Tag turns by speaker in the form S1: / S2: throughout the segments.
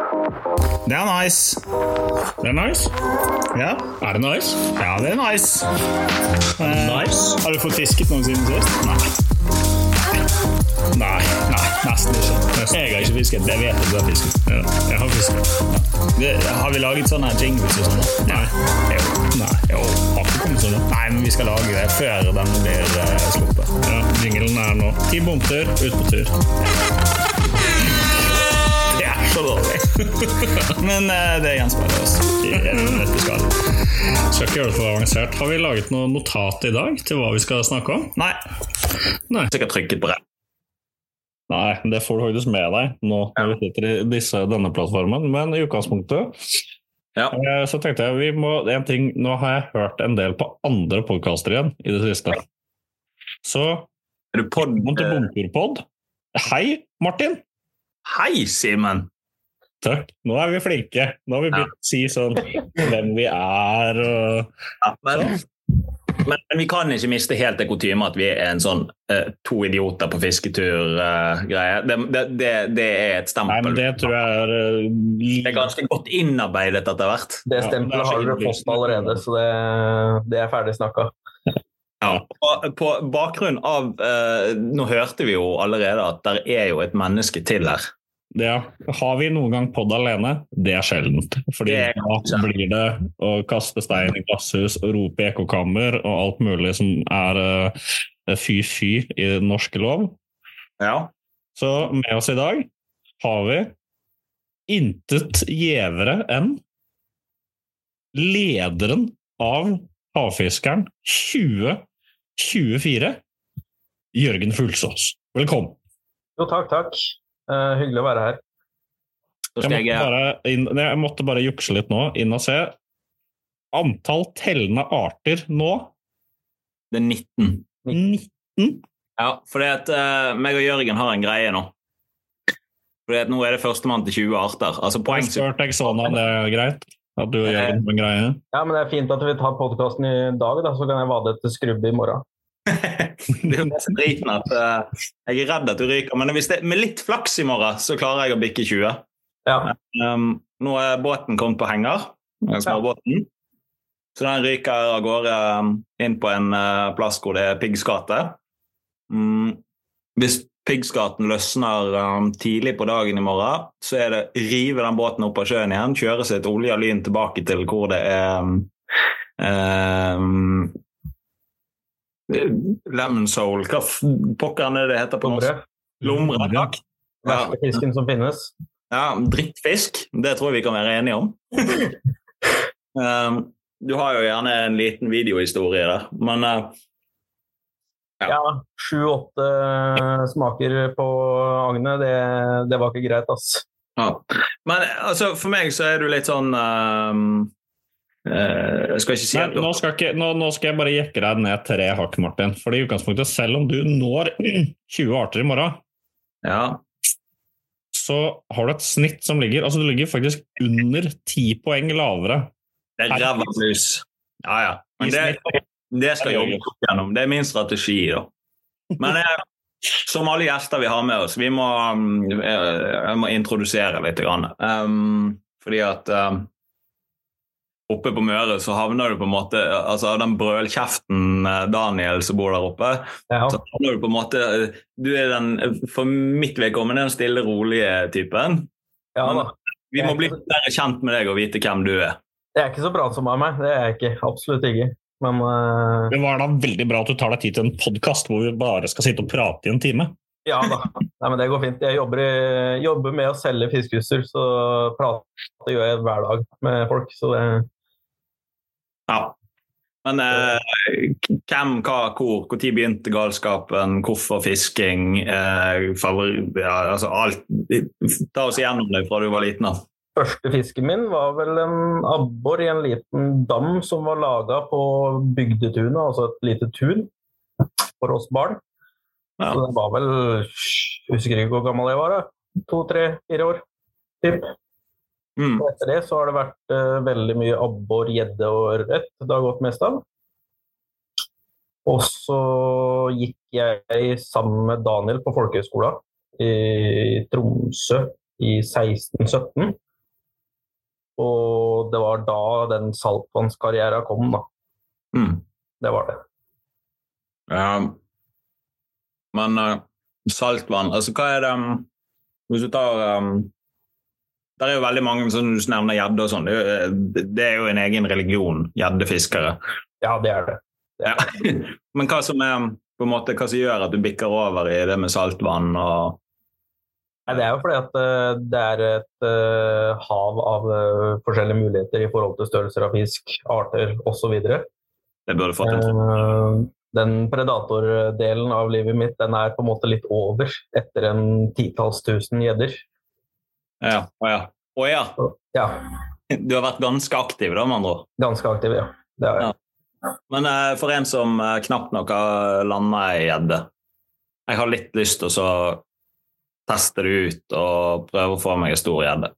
S1: Det er nice.
S2: Det er nice.
S1: Ja,
S2: Er det nice?
S1: ja det er nice. Eh,
S2: Nice?
S1: Har du fått fisket noe siden sist? Nei. Nei, nei, nesten ikke.
S2: Nesten.
S1: Jeg har ikke fisket. Det vet jeg du har fisket.
S2: Ja, jeg har fisket.
S1: Det, har vi laget sånne jingles og sånn? da?
S2: Nei.
S1: Jo.
S2: Nei.
S1: Jo.
S2: Har ikke kommet så langt.
S1: Nei, men vi skal lage det før den blir eh, sluppet.
S2: Ja, jinglen er nå. Ti bomter, ut på tur.
S1: Det er så dårlig. men eh, det gjenspeiler oss i en nøtteskall.
S2: Skal ikke gjøre det for avansert. Har vi laget noe notat i dag til hva vi skal snakke om?
S1: Nei.
S2: Nei.
S1: Sikkert trykket på det.
S2: Nei, det får du faktisk med deg nå når vi sitter i disse, denne plattformen. Men i utgangspunktet
S1: Ja.
S2: eh, så tenkte jeg vi må, en ting, Nå har jeg hørt en del på andre podkaster igjen i det siste. Så
S1: Er du pod...
S2: velkommen til Bomturpod. Hei, Martin!
S1: Hei, Simen!
S2: Takk. Nå er vi flinke. Nå har vi
S1: Ja.
S2: begynt å si sånn hvem vi er og
S1: Ja, men, men, men vi kan ikke miste helt det kutymet at vi er en sånn eh, to idioter på fisketur-greie. det, det, det, det er et
S2: Nei,
S1: stempel.
S2: men det tror jeg er eh,
S1: Det er ganske godt innarbeidet etter hvert.
S3: Det
S2: Ja, det er
S3: stempelet
S2: så
S3: har dere fått
S2: innlysende.
S3: allerede, så det, det er ferdig snakka.
S1: På, på bakgrunn av eh, Nå hørte vi jo allerede at der er jo et menneske til her.
S2: Ja. Har vi noen gang podd alene? Det er sjeldent. Fordi
S1: Det er
S2: da blir det å kaste stein i glasshus og rope i ekkokammer og alt mulig som er eh, fy-fy i den norske lov.
S1: Ja.
S2: Så med oss i dag har vi intet gjevere enn lederen av Havfiskeren 2024, Jørgen Fuglsås. Velkommen.
S3: Jo, takk, takk. Eh, hyggelig å være her.
S1: Så
S2: Jeg
S1: skal
S2: måtte,
S1: jeg,
S2: bare inn, nei, jeg måtte bare jukse litt nå, inn og se. Antall tellende arter nå
S1: det er 19.
S2: 19.
S1: Ja, fordi at eh, meg og Jørgen har en greie nå. Fordi at nå er det førstemann til 20 arter. Altså
S2: Jeg
S1: poengsum.
S2: spurte deg sånn om det er greit? At du gjør en sånn greie?
S3: Ja, men Det er fint at vi tar podkasten i dag, da, så kan jeg vade etter skrubbe i morgen.
S1: Det er jo det som er driten at eh, jeg er redd at du ryker. Men hvis det, med litt flaks i morgen, så klarer jeg å bikke 20.
S3: Ja,
S1: Um, nå er båten kommet på henger, den småbåten. Så den ryker av gårde um, inn på en eh, plass hvor det er piggskate. Mm, hvis piggskaten løsner um, tidlig på dagen i morgen, så er det rive den båten opp av sjøen igjen, kjøre sitt olje og lyn tilbake til hvor det er um, um, Lemon soul Hva f- pokker er det det heter på norsk?
S3: Lomre.
S1: Lomre, takk. Ja.
S3: Verste fisken som finnes.
S1: Ja, drittfisk. Det tror jeg vi kan være enige om. um, du har jo gjerne en liten videohistorie der, men uh,
S3: Ja, Sju-åtte eh, smaker på agnet, det, det var ikke greit, ass.
S1: ja. Men altså, for meg så er du litt sånn um, eh, Jeg skal ikke si
S2: Nei,
S1: at du
S2: nå, skal ikke, nå, nå skal jeg bare jekke deg ned tre hakk, Martin. Fordi i utgangspunktet, selv om du når 20 arter i morgen,
S1: ja.
S2: så har du et snitt som ligger Altså, du ligger faktisk under 10 poeng lavere.
S1: Det er ræva mus. Ja, ja. Men det, det skal jeg jobbe opp gjennom. Det er min strategi, da. Men eh, som alle gjester vi har med oss, vi må, um, eh, jeg må introdusere litt. Grann. Um, fordi at um, oppe på Møre så havner du på en måte Altså av den brølkjeften eh, Daniel som bor der oppe,
S3: Ja.
S1: så havner du på en måte eh, Du er den, eh, for mitt vedkommende, den stille, rolige typen.
S3: ja da.
S1: Vi må bli bedre kjent med deg og vite hvem du er.
S3: Jeg er ikke så bra som av meg, det er jeg ikke. Absolutt ikke. Men eh,
S2: Det var da veldig bra at du tar deg tid til en podkast hvor vi bare skal sitte og prate i en time.
S3: ja da. Nei, men det går fint. Jeg jobber, i, jobber med å selge fiskeutstyr, så prater gjør jeg hver dag med folk. Så det,
S1: Ja. Men eh, hvem, hva, hvor? Når begynte galskapen? Hvorfor fisking? Eh, favori, ja, altså alt. Ta oss igjennom det fra du var liten av.
S3: første fisken min var vel en abbor i en liten dam som var laga på bygdetunet, altså et lite tun for oss barn.
S1: Ja.
S3: Så det var vel Husker ikke hvor gammel jeg var, da. To, tre, fire år. Typ.
S1: Mm.
S3: Og etter det så har det vært eh, veldig mye abbor, gjedde og ørret det har gått mest av. Og så gikk jeg sammen med Daniel på folkehøgskolen i Tromsø i 1617. Og det var da den saltvannskarrieren kom, da.
S1: Mm.
S3: Det var det.
S1: Ja. Men eh, saltvann Altså, hva er det um, Hvis du tar um, Der er jo veldig mange som du nevner gjedde og sånn. Det, er jo- det er jo en egen religion, gjeddefiskere.
S3: Ja, det er det.
S1: Ja. Men hva som er um, på en måte, hva som gjør at du bikker over i det med saltvann og
S3: Nei, det er jo fordi at eh, det er et eh, hav av eh, forskjellige muligheter i forhold til størrelser av fisk, arter osv.
S1: Det burde fått en
S3: Uh, den predatordelen av livet mitt den er på en måte litt over etter en titalls tusen gjedder.
S1: Ja. Å ja. Å ja.
S3: Ja,
S1: Du har vært ganske aktiv, da, med andre ord.
S3: ganske aktiv, ja. Det er jeg.
S1: Ja. Men eh, for en som eh, knapt nok har landa ei gjedde Jeg har litt lyst til å så teste det ut og prøve å få meg en stor gjedde.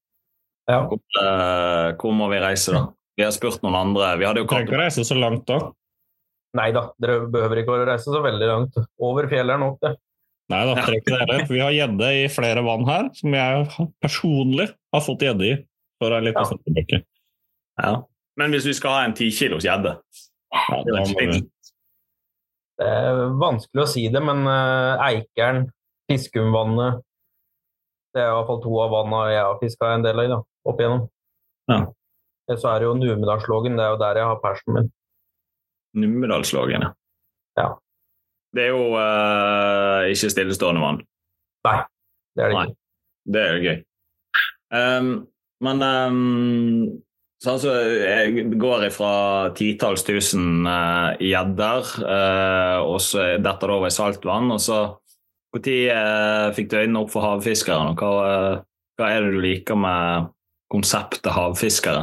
S3: Ja.
S1: Hvor, eh, hvor må vi reise, da? Vi har spurt noen andre. Vi hadde jo
S4: Trenger ikke
S1: kalt
S4: å reise så langt da.
S3: Nei da, dere behøver ikke å reise så veldig langt. Over fjellet er nok, det.
S4: Nei da, trenger ikke det heller. for Vi har gjedde i flere vann her, som jeg personlig har fått gjedde i. For en liten
S3: Ja.
S4: stund tilbake.
S1: ja. Men hvis vi skal ha en tikilos gjedde
S4: Ja,
S1: det er ikke
S4: da må vi-
S1: fint.
S3: Det er vanskelig å si det, men eh, Eikeren, Fiskumvannet Det er i hvert fall to av vannene jeg har fiska en del av da, opp igjennom.
S1: Ja.
S3: Eh, Så er det jo Numedalslågen, det er jo der jeg har persen min.
S1: Numedalslågen, ja.
S3: Ja.
S1: Det er jo eh, ikke stillestående vann.
S3: Det er det
S1: Nei.
S3: ikke.
S1: Det er jo gøy. Ehm, men ehm, så altså, jeg går ifra titalls tusen eh, gjedder, eh, og så detter det over i saltvann. Og så Når uh, fikk du øynene opp for havfiskeren, og hva, eh, hva er det du liker med konseptet havfiskere?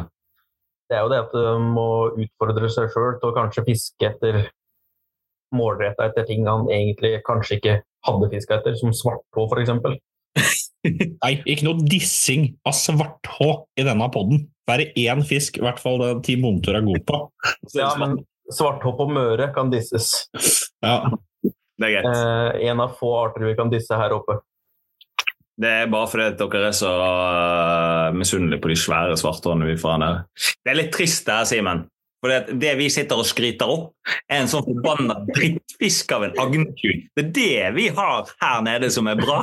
S3: Det er jo det at du må utfordre seg sjøl til å kanskje fiske etter Målretta etter ting han egentlig kanskje ikke hadde fiska etter, som svarthå f.eks.
S4: Nei, ikke noe dissing av svarthå i denne podden. Bare én fisk, i hvert fall den Team Bondetur er god på.
S3: Ja, men svarthå på Møre kan disses.
S4: Ja,
S1: Det er greit.
S3: Eh, en av få arter vi kan disse her oppe.
S1: Det er bare fordi at dere er så eh, misunnelige på de svære svarthårene vi får her. Det er litt trist det her, Simen. For det, det vi sitter og skryter opp, er en sånn forbanna drittfisk av en agnkuk. Det er det vi har her nede som er bra.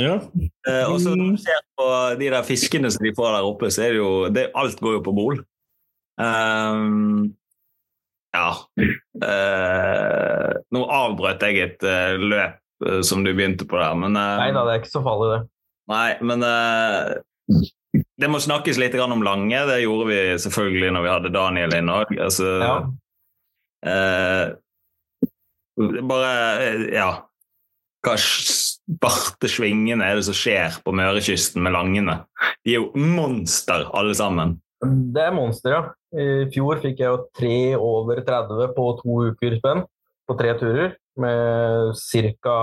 S4: ja.
S1: Eh, og så når du ser på de der fiskene som de får der oppe, så er det jo det, Alt går jo på bol. Ehm, ja Eh, Nå avbrøt jeg et eh, løp eh, som du begynte på der, men eh,
S3: Nei da, det er ikke så farlig, det.
S1: Nei, men eh, det må snakkes litt grann om Lange. Det gjorde vi selvfølgelig når vi hadde Daniel inn òg. Altså,
S3: Ja.
S1: eh, det er bare eh, Ja. Hva s- svarte svingene er det som skjer på Mørekysten med Langene? De er jo monster, alle sammen.
S3: Det er monster, ja. I fjor fikk jeg jo tre over 30 på to uker spenn på tre turer. Med ca.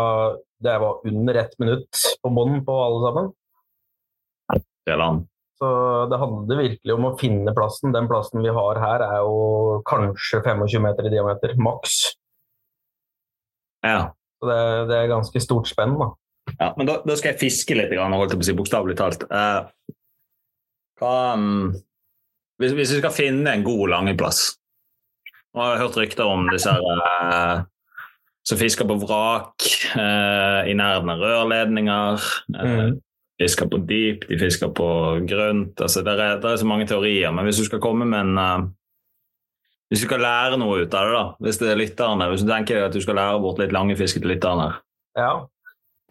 S3: Det var under ett minutt på bånn på alle sammen.
S1: Hele han.
S3: Så det handler virkelig om å finne plassen. Den plassen vi har her, er jo kanskje 25 meter i diameter, maks.
S1: Ja.
S3: Så det, det er ganske stort spenn, da.
S1: ja. Men da, da skal jeg fiske litt, grann, holdt jeg på å si, bokstavelig talt. Eh, hva mm, hvis, hvis vi skal finne en god langeplass Nå har jeg hørt rykter om disse her eh, som fisker på vrak eh, i nærheten av rørledninger. Eh, De fisker på dyp, de fisker på grønt. Altså, det, er, der er så mange teorier. Men hvis du skal komme med en eh, Hvis du skal lære noe ut av det, da, hvis det er lytterne, hvis du tenker at du skal lære bort litt langefiske til lytterne
S3: Ja.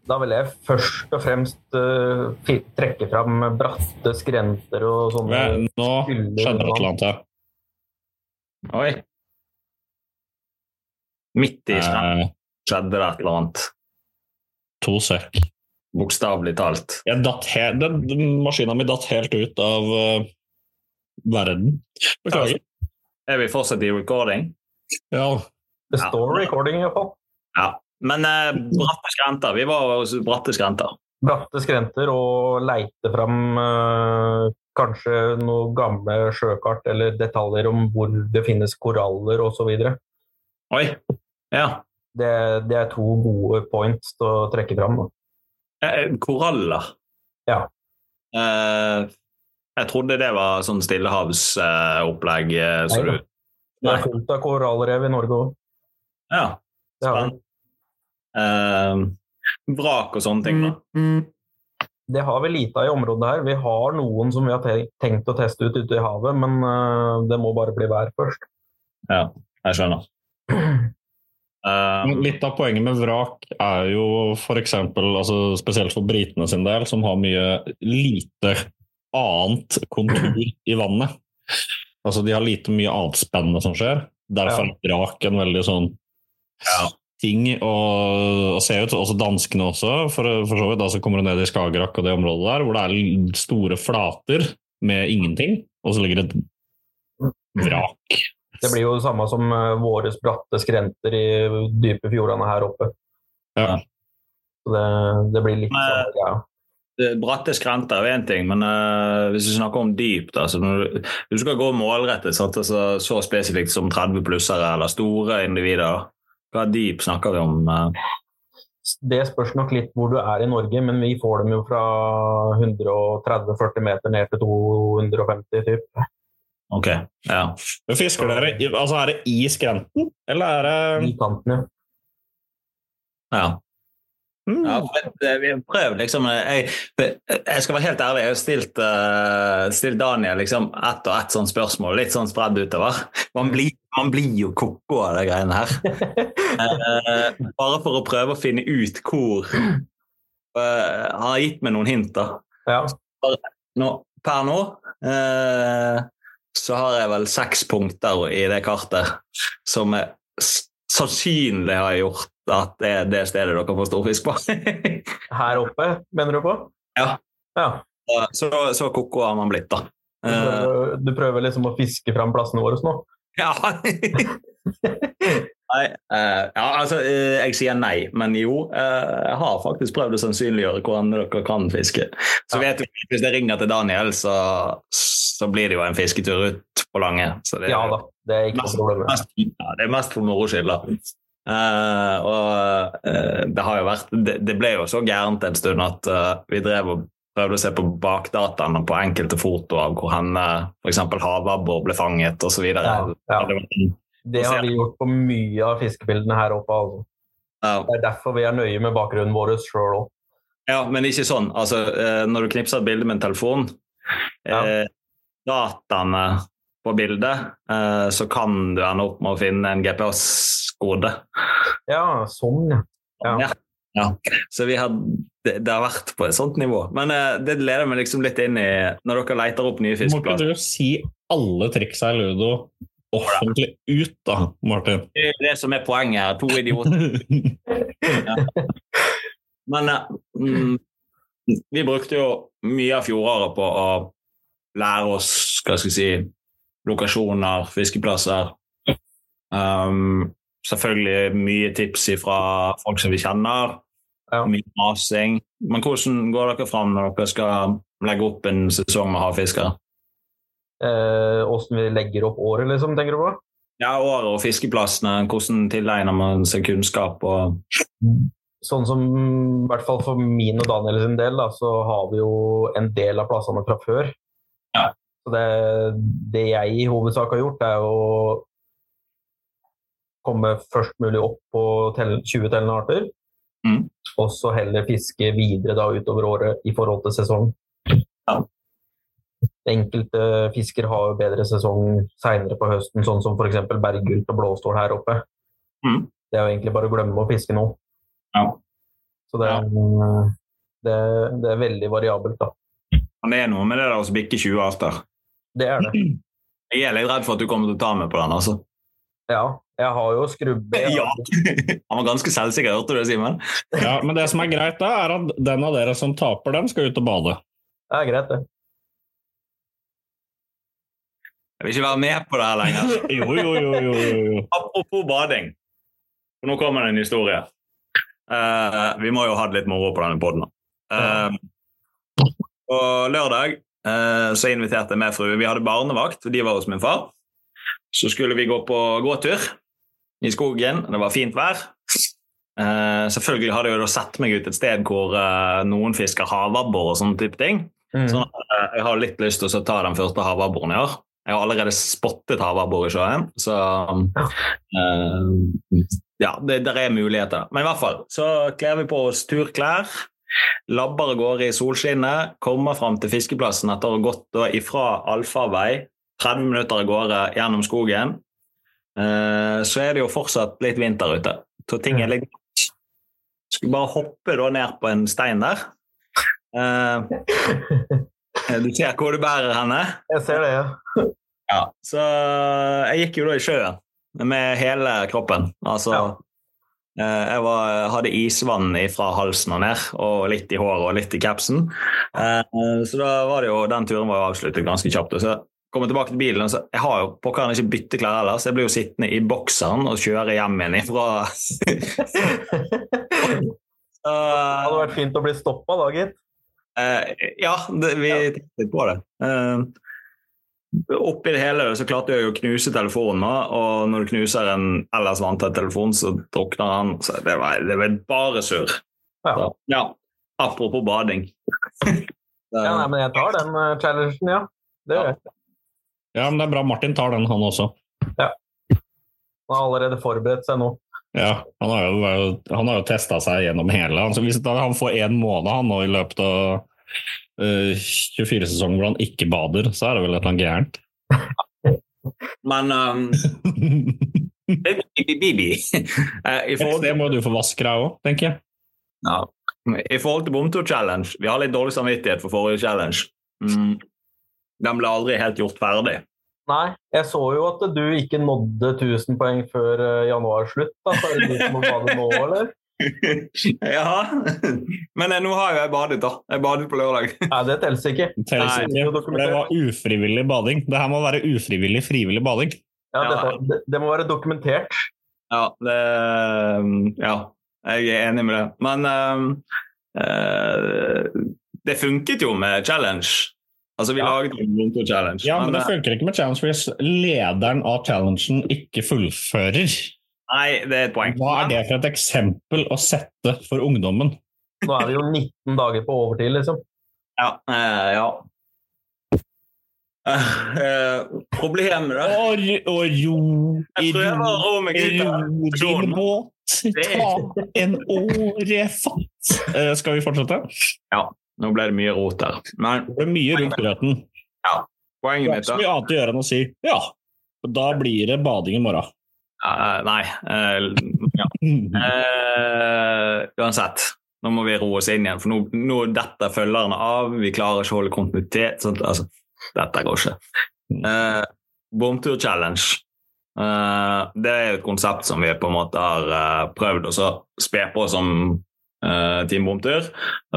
S3: Da vil jeg først og fremst øh, fi- trekke fram bratte skrenter og sånne
S4: Men Nå skjedde et eller annet her.
S1: Oi! Midt i skjedd-
S4: Eh,
S1: skjedde det et eller annet.
S4: to sek.
S1: Bokstavelig talt.
S4: Jeg datt he den, den maskinen min datt helt ut av eh, verden. Beklager.
S1: Er vi fortsatt i recording?
S4: Ja.
S3: Det står recording, iallfall.
S1: Ja. Men eh, bratte skrenter. Vi var hos bratte skrenter.
S3: bratte skrenter og leite fram eh, kanskje noe gamle sjøkart eller detaljer om hvor det finnes koraller osv.
S1: Oi! Ja.
S3: Det, det er to gode points til å trekke fram. Da.
S1: Eh, Koraller.
S3: Ja.
S1: Eh, Jeg trodde det var sånn stillehavsopplegg. eh, så
S3: Nei da.
S1: du-
S3: Det
S1: Nei.
S3: er fullt av korallrev i Norge òg.
S1: Ja, spennende. Eh, vrak og sånne ting.
S3: Mm.
S1: da.
S3: Det har vi lite av i området her. Vi har noen som vi har te- tenkt å teste ut ute i havet, men eh, det må bare bli vær først.
S1: Jeg skjønner.
S4: Men
S1: Eh,
S4: Litt av poenget med vrak er jo f.eks. Altså spesielt for britene sin del, som har mye lite annet kontur i vannet. Altså De har lite mye annet spennende som skjer. Derfor er vrak en veldig sånn
S1: Ja.
S4: ting å, å se ut. Også danskene også, for, for så vidt. Da så kommer du ned i Skagerrak og det området der, hvor det er l- store flater med ingenting, og så ligger det et vrak.
S3: Det blir jo det samme som eh, våre bratte skrenter i dype fjordene her oppe.
S4: Ja.
S3: Så det, det blir litt
S1: Men-
S3: sånn, ja.
S1: det- bratte skrenter er én ting, men eh, hvis vi snakker om dypt altså, når du, du skal gå målrettet, sant? Altså, så spesifikt som 30-plussere eller store individer. Hva dyp snakker vi om? eh?
S3: Det spørs nok litt hvor du er i Norge, men vi får dem jo fra 130-40 meter ned til 250 typ.
S1: Ok, ja.
S4: Men Fisker dere i- altså Er det i skrenten, eller er det
S3: I kanten, ja.
S1: ja.
S4: Mm.
S1: Ja, for det- vi har prøvd, liksom. Jeg, eh, jeg skal være helt ærlig, jeg har stilt, eh, stilt Daniel liksom, ett og ett sånn spørsmål, litt sånn spredd utover. Man blir, man blir jo koko av de greiene her. Eh, bare for å prøve å finne ut hvor eh, Han har gitt meg noen hint, da.
S3: ja.
S1: Nå, per nå eh, så har jeg vel seks punkter i det kartet som jeg s- sannsynlig har gjort at det er det stedet dere får storfisk på.
S3: Her oppe, mener du på?
S1: Ja.
S3: ja.
S1: Ja, Så, så koko har man blitt, da.
S3: Du,
S1: Eh,
S3: prøver, du prøver liksom å fiske fram plassene våre nå?
S1: ja. Nei, eh, ja, altså, eh, jeg sier nei, men jo, eh, jeg har faktisk prøvd å sannsynliggjøre hvordan dere kan fiske.
S3: Ja.
S1: Så vet vi at hvis det ringer til Daniel, så, så blir det jo en fisketur ut på Lange. Så det,
S3: Ja da, det er ikke noe problem.
S1: Mest, ja, det er mest for moro skyld, da. Eh, og eh, det har jo vært det, det ble jo så gærent en stund at eh, vi drev og prøvde å se på bakdataene på enkelte foto av hvor hen eh, for eksempel havabbor ble fanget osv.
S3: Ja, ja.
S1: Det, var- sånn.
S3: Det har vi gjort på mye av fiskebildene her oppe. Altså.
S1: ja.
S3: Det er derfor vi er nøye med bakgrunnen vår sjøl òg.
S1: ja, men ikke sånn. Altså, eh, når du knipser et bilde med en telefon
S3: Ja.
S1: eh, Dataene på bildet, eh, så kan du ende opp med å finne en GPS-kode.
S3: Ja, sånn, ja. Ja.
S1: Ja. ja. Så vi har, det, det har vært på et sånt nivå. Men eh, det leder meg liksom litt inn i Når dere leter opp nye
S4: Må ikke
S1: fiskeplasser
S4: du si alle triksa i ludo offentlig ut, da, Martin?
S1: Det er det som er poenget her. To idioter. Men eh, mm, vi brukte jo mye av fjoråret på å lære oss hva skal jeg si, lokasjoner, fiskeplasser. Um, selvfølgelig mye tips fra folk som vi kjenner.
S3: Ja.
S1: Mye masing. Men hvordan går dere fram når dere skal legge opp en sesong med havfiskere?
S3: Eh, Åssen vi legger opp året, liksom, tenker du på?
S1: Ja, året og fiskeplassene, hvordan tilegner man seg kunnskap og
S3: sånn som i hvert fall for min og Daniel sin del, da, så har vi jo en del av plassene fra før.
S1: Ja.
S3: Så det, det jeg i hovedsak har gjort, er å komme først mulig opp på tell, 20 tellende arter,
S1: Mm.
S3: og så heller fiske videre da utover året i forhold til sesong.
S1: Ja.
S3: Enkelte fisker har jo bedre sesong seinere på høsten, sånn som f.eks. berggult og blåstål her oppe.
S1: Mm.
S3: Det er jo egentlig bare å glemme å fiske nå.
S1: Ja.
S3: Så det, er- det, det er veldig variabelt, da.
S1: Men det er noe med det der å bikke 20 arter.
S3: Det er det.
S1: Jeg er litt redd for at du kommer til å ta meg på den, altså.
S3: Ja. Jeg har jo altså. skrubbe
S1: Ja. Han var ganske selvsikker, hørte du det, Simen?
S4: Ja, men det som er greit, da, er at den av dere som taper, den skal ut og bade.
S3: Det er greit, det.
S1: Jeg vil ikke være med på det her lenger.
S4: Jo, jo, jo, jo, jo, jo.
S1: Apropos bading. Og nå kommer det en historie. Eh, vi må jo ha det litt moro på denne podden. Eh, på lørdag eh, så inviterte jeg med frue. Vi hadde barnevakt, og de var hos min far. Så skulle vi gå på gåtur i skogen. Det var fint vær. Eh, selvfølgelig hadde jeg jo da sett meg ut et sted hvor eh, noen fisker havabbor og sånne type ting.
S3: Mm.
S1: Sånn at eh, jeg har litt lyst til å ta den første havabboren i år. Jeg har allerede spottet havabbor i sjøen, så eh, Ja, det der er muligheter. Men i hvert fall så kler vi på oss turklær. Labber av gårde i solskinnet, kommer fram til fiskeplassen etter å ha gått da ifra allfarvei 30 minutter av gårde gjennom skogen. Eh, så er det jo fortsatt litt vinter ute, så ting er litt Skulle bare hoppe da ned på en stein der. Eh, du ser hvor du bærer henne.
S3: Jeg ser det, ja.
S1: Ja. Så eh, jeg gikk jo da i sjøen med hele kroppen. Altså
S3: Ja.
S1: eh, Jeg var, hadde isvann fra halsen og ned, og litt i håret og litt i capsen. Eh, Så da var det jo, den turen var jo avsluttet ganske kjapt. og Så kom jeg tilbake til bilen, og så jeg har jo pokker ikke bytteklær ellers. Jeg blir jo sittende i bokseren og kjøre hjem igjen ifra
S3: Det hadde vært fint å bli stoppa da, gitt.
S1: Eh, ja, det, vi tenkte på det. Eh, oppi det hele så klarte jeg jo å knuse telefonen, da, og når du knuser en ellers vanntett telefon, så drukner han. Så det var, det var bare surr.
S3: Ja.
S1: Så, Ja. Apropos bading.
S3: Ja, nei, men jeg tar den eh, challengen, ja. Det gjør jeg.
S4: Ja, men det er bra Martin tar den, han også.
S3: Han har allerede forberedt seg nå.
S4: Ja, han har jo, vært- han har jo testa seg gjennom hele. Altså, hvis da han får én måned han nå i løpet av eh, 24-sesongen hvor han ikke bader, så er det vel et eller annet gærent.
S1: Men um, Bibi, Bibi. Eh, i, forhold,
S4: det må du få vaske deg òg, tenker jeg.
S1: ja. I forhold til bomtur-challenge Vi har litt dårlig samvittighet for forrige challenge. Mm. Den ble aldri helt gjort ferdig.
S3: Nei, jeg så jo at du ikke nådde 1000 poeng før eh, januarslutt. Da. Så er det du som må bade nå, eller?
S1: Ja, men eh, nå har jo jeg badet, da. Jeg badet på lørdag.
S3: Nei, det teller ikke.
S4: Det Telles
S1: Nei,
S3: det er jo
S4: ikke. For det var ufrivillig bading. Det her må være ufrivillig frivillig bading.
S3: Ja,
S1: Ja.
S3: dette, det, det må være dokumentert.
S1: Ja, det, ja, jeg er enig med det. Men eh, eh, det funket jo med challenge. Altså, vi
S3: Ja.
S1: laget jo en eh, Monto-challenge.
S4: Ja, men eh, det funker ikke med challenge hvis lederen av challengen ikke fullfører.
S1: Nei, det er et poeng.
S4: Hva er det for et eksempel å sette for ungdommen?
S3: Nå er vi jo 19 dager på overtid, liksom.
S1: Ja. eh, ja. Eh, eh, problemet,
S4: Å
S1: da?
S4: ro- å ro i
S1: Jeg prøver å roe meg ut. av det.
S4: Ro din
S1: Skål.
S4: båt, ta en åre fatt. Eh, Skal vi fortsette?
S1: Nå ble det mye rot der. Men
S4: Det ble mye rundt grøten. Det
S1: poenget
S4: er
S1: mitt,
S4: ikke så
S1: da
S4: mye annet å gjøre enn å si ja. Da blir det bading i morgen.
S1: Eh, Nei. eh, ja. Eh, uansett, nå må vi roe oss inn igjen, for nå, nå detter følgerne av. Vi klarer ikke å holde kontinuitet. Sånt, altså, dette går ikke. Eh, Bomtur-challenge. Eh, det er jo et konsept som vi på en måte har eh, prøvd å så spe på som eh, Team Bomtur,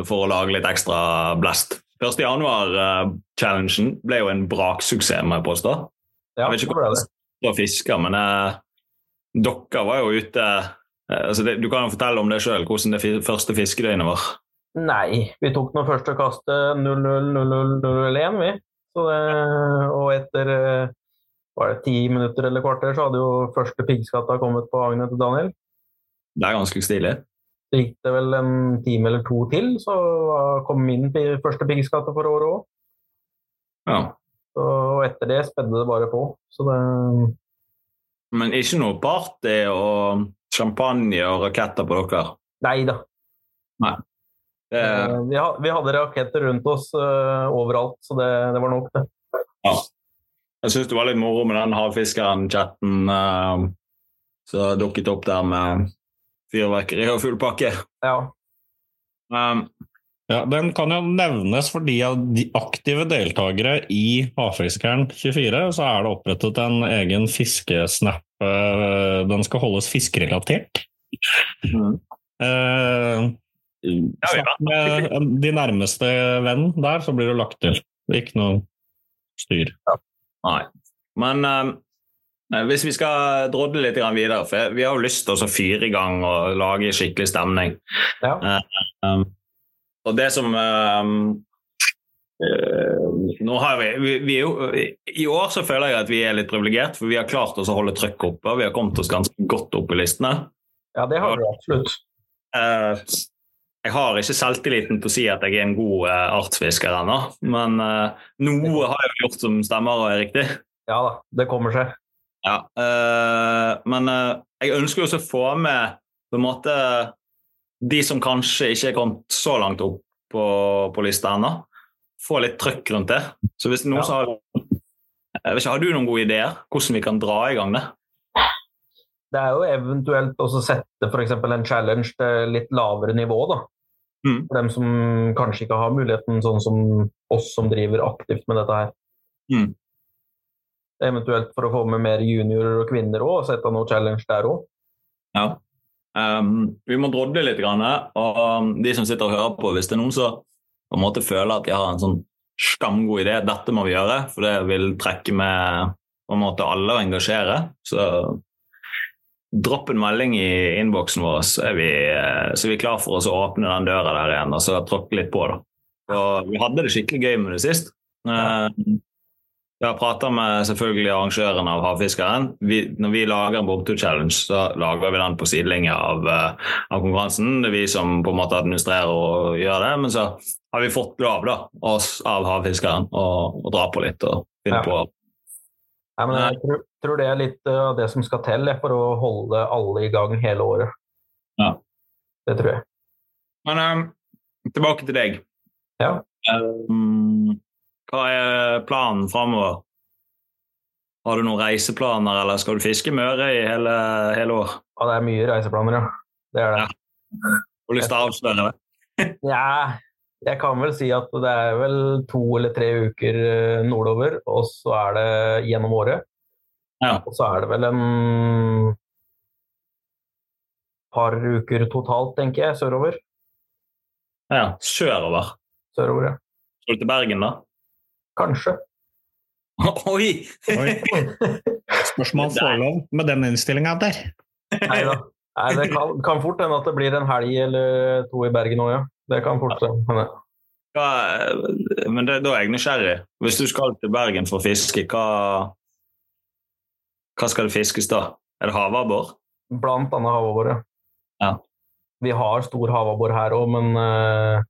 S1: for å lage litt ekstra blest. 1. januar-challengen eh, ble jo en braksuksess, må jeg påstå.
S3: Ja,
S1: Jeg vet ikke
S3: det ble det.
S1: Dere fisker, men eh, dere var jo ute eh, altså det, Du kan jo fortelle om det sjøl, hvordan det fi- første fiskedøgnet var.
S3: Nei, vi tok nå første kastet 0-0-0-0-1, vi. Så det, og etter eh, var det ti minutter eller kvarter, så hadde jo første piggskatta kommet på agnet til Daniel.
S1: Det er ganske stilig.
S3: Så gikk det vel en time eller to til, så var- kom min pi- første piggskatte for året òg.
S1: Ja.
S3: Og etter det spedde det bare på. Så det
S1: Men ikke noe party og champagne og raketter på dere.
S3: Nei da.
S1: Det,
S3: Eh, Vi ha- vi hadde raketter rundt oss eh, overalt, så det, det var nok, det.
S1: jeg syns det var litt moro med den havfiskeren-chatten eh, som dukket opp der med fyrverkeri og full pakke.
S3: Ja.
S1: Um,
S4: Ja, den kan jo nevnes for de av de aktive deltakere i Havfiskeren 24. Så er det opprettet en egen fiskesnap. eh, Den skal holdes fiskerelatert. Mm.
S1: Mhm.
S4: Eh,
S1: Ja, ja.
S4: Snakk med de nærmeste venn der, så blir du lagt til. Ikke noe styr.
S1: Nei. Men eh, hvis vi skal drodle litt grann videre, for vi har jo lyst til å fyre i gang og lage skikkelig stemning.
S3: Ja.
S1: Eh, og det som eh, eh, nå har vi, vi, vi er jo, eh, I år så føler jeg at vi er litt privilegert, for vi har klart oss å holde trøkket oppe. Vi har kommet oss ganske godt opp i listene.
S3: ja, det har du absolutt.
S1: Eh, Jeg har ikke selvtilliten til å si at jeg er en god eh, artsfisker ennå, men eh, noe har jeg jo gjort som stemmer og er riktig.
S3: Ja da, det kommer seg.
S1: Ja. eh, men eh, jeg ønsker jo også å få med på en måte de som kanskje ikke er kommet så langt opp på, på lista ennå. Få litt trøkk rundt det. Så hvis det er noen
S3: Ja.
S1: som har jeg vet ikke, Har du noen gode ideer hvordan vi kan dra i gang det?
S3: Det er jo eventuelt også sette f.eks. en challenge til litt lavere nivå, da.
S1: Mm.
S3: For dem som kanskje ikke har muligheten, sånn som oss som driver aktivt med dette her.
S1: Mm.
S3: Eventuelt for å få med mer juniorer og kvinner òg, sette noe challenge der òg.
S1: Ja. Ehm, vi må drodle litt, grann, og um, de som sitter og hører på, hvis det er noen som på en måte føler at de har en sånn skamgod idé, dette må vi gjøre, for det vil trekke med på en måte alle og engasjere, så dropp en melding i innboksen vår, så er vi, eh, så er vi klar for oss å åpne den døra der igjen og så tråkke litt på. da. Og vi hadde det skikkelig gøy med det sist. Eh, Vi har prata med selvfølgelig arrangøren av Havfiskeren. Vi, når vi lager en bomtur-challenge, så lager vi den på sidelinja av, eh, av konkurransen. Det er vi som på en måte administrerer og gjør det. Men så har vi fått lov da, oss av Havfiskeren å å dra på litt og finne
S3: Ja.
S1: på
S3: Nei, men jeg tror, tror det er litt eh, av det som skal til jeg, for å holde alle i gang hele året.
S1: Ja.
S3: Det tror jeg.
S1: Men eh, tilbake til deg.
S3: Ja.
S1: Eh, hva er planen framover? Har du noen reiseplaner, eller skal du fiske Møre i hele, hele år?
S3: Ja, det er mye reiseplaner, ja. Det er det.
S1: Har du lyst til å avsløre det?
S3: Ja, jeg kan vel si at det er vel to eller tre uker eh, nordover, og så er det gjennom året.
S1: Ja.
S3: Og så er det vel en par uker totalt, tenker jeg, sørover.
S1: Ja, sørover.
S3: Sørover, ja.
S1: Skal du til Bergen, da?
S3: Kanskje.
S1: Oi!
S4: Oi. Spørsmål forelov med den innstillinga der.
S3: Nei da. Nei, det kan, kan fort hende at det blir en helg eller to i Bergen òg, ja. Det kan fort hende.
S1: Hva, eh, men det, da er jeg nysgjerrig. Hvis du skal til Bergen for å fiske, hva, hva skal det fiskes da? Er det havabbor?
S3: Blant annet havabbor, ja.
S1: Ja.
S3: Vi har stor havabbor her òg, men eh,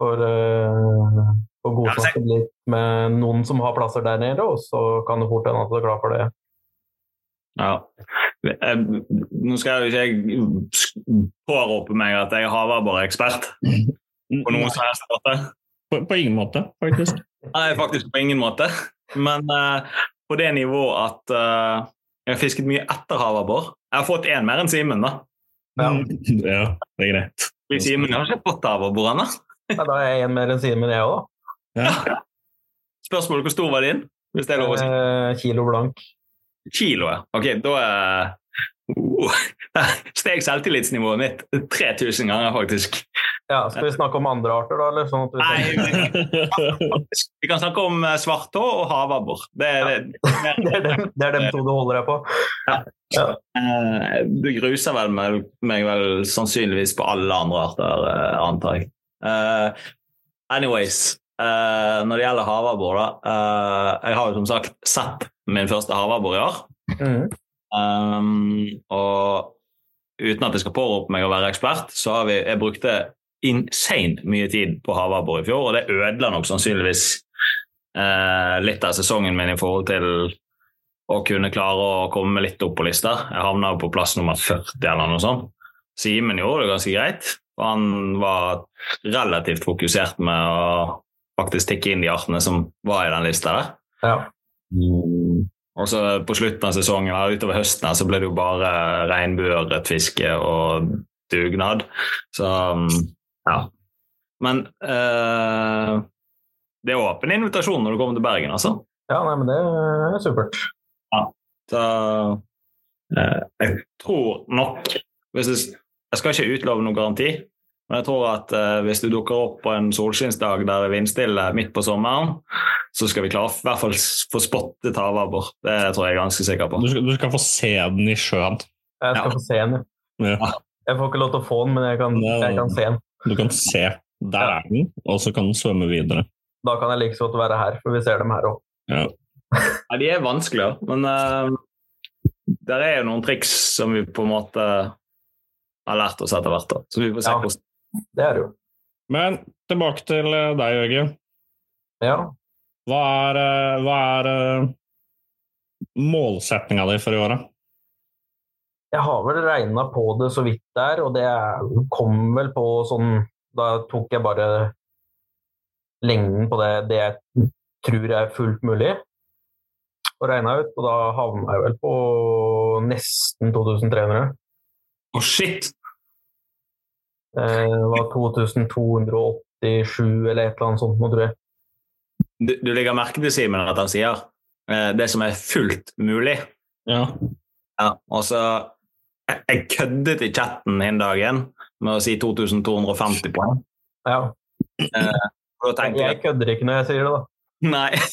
S3: for uh, å
S1: Ja, men se-
S3: godkjenne litt med noen som har plasser der nede, og så kan det fort hende at det er klar for det.
S1: Ja. Jeg, nå skal jo ikke jeg sk- pårope meg at jeg er haverbårekspert på noen som helst måte.
S4: På, på ingen måte, faktisk.
S1: Nei, faktisk på ingen måte. Men eh, på det nivået at eh, jeg har fisket mye etter havabbor. Jeg har fått én mer enn Simen, da.
S3: Ja.
S1: Mm.
S4: ja, det er greit.
S1: Fordi Simen har ikke fått havabbor ennå.
S3: Nei, da er jeg en mer enn Simen, jeg òg, da.
S4: Ja.
S1: Spørsmålet hvor stor var din? Hvis det er lov å si.
S3: Eh, kilo blank.
S1: Kilo, ja. Ok, da er uh, Steg selvtillitsnivået mitt 3000 ganger, faktisk.
S3: Ja, skal vi snakke om andre arter, da? Eller? Sånn at vi
S1: Nei, vi- vi kan snakke om eh, svarthå og havabbor. Det, er- det,
S3: Det er, dem, det er dem to du holder deg på.
S1: Eh, Du gruser vel meg, meg vel sannsynligvis på alle andre arter, eh, antar jeg. Eh, anyways, eh, når det gjelder havabbor, da eh, Jeg har jo som sagt sett min første havabbor i år.
S3: Mm.
S1: Ehm, og uten at jeg skal pårope meg å være ekspert, så har vi Jeg brukte insane mye tid på havabbor i fjor, og det ødela nok sannsynligvis eh, litt av sesongen min i forhold til å kunne klare å komme litt opp på lista. Jeg havna jo på plass nummer 40 eller noe sånt. Simen gjorde det ganske greit. og Han var relativt fokusert med å faktisk tikke inn de artene som var i den lista der. Mm.
S3: Ja.
S1: Og så på slutten av sesongen eller utover høsten her, så ble det jo bare regnbueørretfiske og dugnad. Så mm, ja. Men eh, det er åpen invitasjon når du kommer til Bergen, altså.
S3: ja, nei, men det er supert.
S1: Så eh, jeg tror nok hvis jeg, jeg skal ikke utlove noen garanti, men jeg tror at eh, hvis du dukker opp på en solskinnsdag der det er vindstille midt på sommeren, så skal vi klare å i hvert fall s- få spottet havabbor. Det tror jeg er ganske sikker på.
S4: Du, skal, du skal få se den i sjøen.
S3: Jeg skal
S1: Ja.
S3: få se den. jeg.
S4: Ja.
S3: Jeg får ikke lov til å få den, men jeg kan,
S4: Nei, nei,
S3: jeg kan
S4: nei.
S3: se den.
S4: Du kan se. Der er den, og så kan den svømme videre.
S3: Da kan jeg like så godt være her, for vi ser dem her òg.
S1: Ja, de er vanskeligere, men eh, det er jo noen triks som vi på en måte har lært oss etter hvert. da. Så vi får se
S3: Ja.
S1: hvordan
S3: Det er det jo.
S4: Men tilbake til eh, deg, Jørgen.
S3: Ja.
S4: Hva er, eh, hva er målsettinga di for i året?
S3: Jeg har vel regna på det så vidt der, og det er- kom vel på sånn Da tok jeg bare lengden på det, det jeg tror er fullt mulig, og regna ut. Og da havna jeg vel på nesten 2300.
S1: Å, shit!
S3: Eh, Det var 2287 eller et eller annet sånt, nå tror jeg.
S1: Du, du legger merke til, Simen, at han sier eh, det som er fullt mulig.
S4: Ja.
S1: Ja, og så jeg, jeg køddet i chatten den dagen med å si 2250 poeng.
S3: Ja.
S1: Og da tenkte jeg
S3: Jeg kødder ikke når jeg sier det, da.
S1: nei.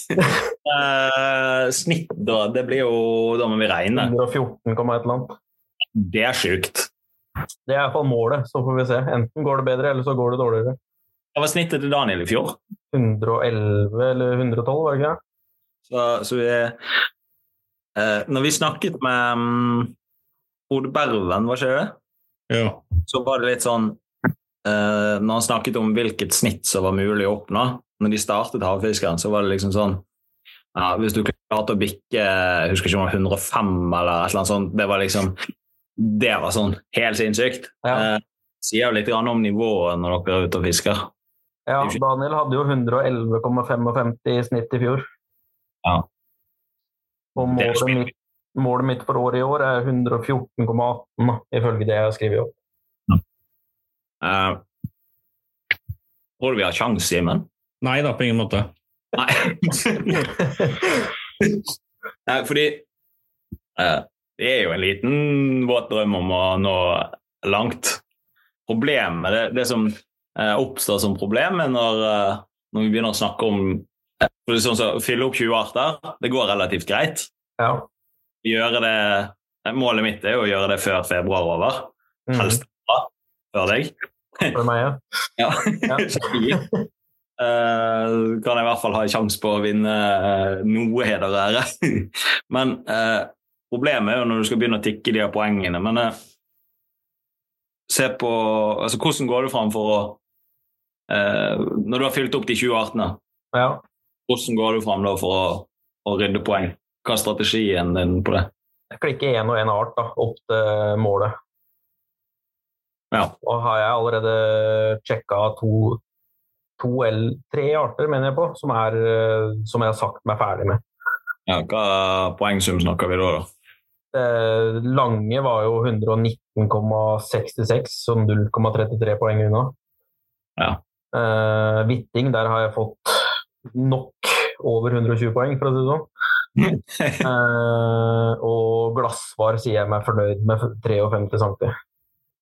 S1: Eh, snitt, da. Det blir jo Da må vi regne.
S3: 114, komma et eller annet.
S1: Det er sjukt.
S3: Det er iallfall målet, så får vi se. Enten går det bedre, eller så går det dårligere.
S1: Hva var snittet til Daniel i fjor?
S3: 111 eller 112, var det ikke det?
S1: Så, så vi eh, Når vi snakket med um, Ode Berven, var ikke det?
S4: ja.
S1: så var det litt sånn eh, Når han snakket om hvilket snitt som var mulig å oppnå Når de startet Havfiskeren, så var det liksom sånn ja, Hvis du klarte å bikke jeg husker ikke om det var 105 eller et eller annet sånt, det var liksom Det var sånn helt sinnssykt.
S3: Ja.
S1: Eh, sier jo litt grann om nivået når dere er ute og fisker.
S3: Ja, Daniel hadde jo 111,55 i snitt i fjor.
S1: Ja.
S3: Og
S1: Det er
S3: målet
S1: spill.
S3: mitt, målet mitt for året i år er 114,18, da, ifølge det jeg har skrevet opp.
S1: Eh, tror du vi har sjans, Simen?
S4: Nei da, på ingen måte.
S1: Nei. Nei, fordi eh, det er jo en liten våt drøm om å nå langt. Problemet, det, det som eh, oppstår som problem, er når, eh, når vi begynner å snakke om eh, for sånn som å fylle opp 20 arter. Det går relativt greit.
S3: Ja.
S1: Gjøre det, eh, målet mitt er jo å gjøre det før februar er over.
S3: Mm,
S1: Helst da, før deg.
S3: for meg, ja.
S1: Ja.
S3: Ja.
S1: Eh, kan jeg i hvert fall ha en sjanse på å vinne eh, noe heder og ære. Men eh, problemet er jo når du skal begynne å tikke de her poengene. Men eh, se på altså, Hvordan går du fram for å eh, Når du har fylt opp de 20 artene,
S3: ja.
S1: hvordan går du fram da for å, å rydde poeng? Hva er strategien din på det?
S3: Jeg klikker én og én art da, opp til målet.
S1: Ja.
S3: Og har jeg allerede sjekka to, to eller tre arter, mener jeg på, som, er, eh, som jeg har sagt meg ferdig med.
S1: ja hva poengsum snakker vi da, da?
S3: Det Eh, lange var jo 119,66, så 0,33 poeng unna.
S1: Ja.
S3: Eh, Hvitting, der har jeg fått nok over 120 poeng, for å si det sånn. Eh, og glassvar sier jeg meg fornøyd med 53 cm.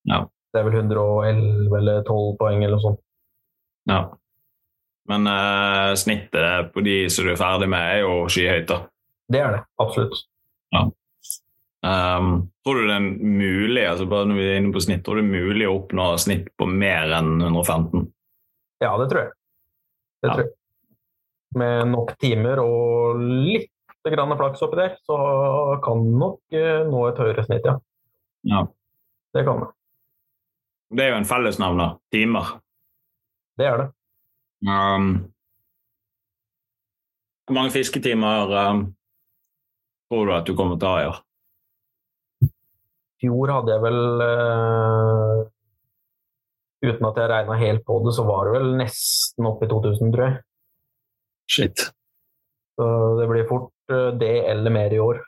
S1: Ja.
S3: Det er vel 111 eller 12 poeng eller noe sånt.
S1: Ja. Men eh, snittet på de som du er ferdig med, er jo skyhøyt, da.
S3: Det er det, absolutt.
S1: Um, tror du det er mulig altså bare når vi er inne på snitt, tror du det er mulig å oppnå snitt på mer enn 115?
S3: Ja, det tror jeg. Det
S1: Ja.
S3: tror jeg. Med nok timer og litt grann flaks oppi der, så kan nok eh, nå et høyere snitt, ja.
S1: Ja.
S3: Det kan det.
S1: Det er jo en fellesnevner. Timer.
S3: Det er det.
S1: Um, hvor mange fisketimer um, tror du at du kommer til å ha i år?
S3: I fjor hadde jeg vel eh, Uten at jeg regna helt på det, så var det vel nesten opp i 2000, tror jeg.
S1: Shit.
S3: Så det blir fort eh, det eller mer i år.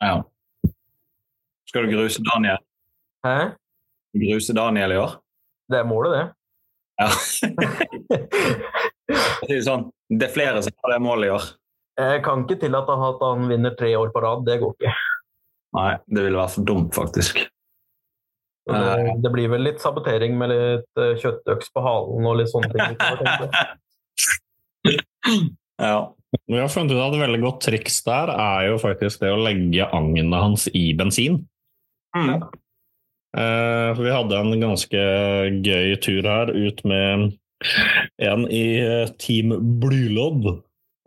S1: Ja. Skal du gruse Daniel,
S3: Hæ?
S1: gruse Daniel i år?
S3: Det er målet, det.
S1: Ja. Det er sånn, det er flere som har det målet i år.
S3: Jeg kan ikke tillate at han vinner tre år på rad. Det går ikke.
S1: Nei, det ville vært for dumt, faktisk.
S3: Så Det, det blir vel litt sabotering med litt eh, kjøttøks på halen og litt sånne ting. utover,
S1: ja.
S4: Vi har funnet ut at et veldig godt triks der er jo faktisk det å legge agnet hans i bensin.
S1: Mm.
S4: Eh, for vi hadde en ganske gøy tur her ut med en i eh, Team Blulodd.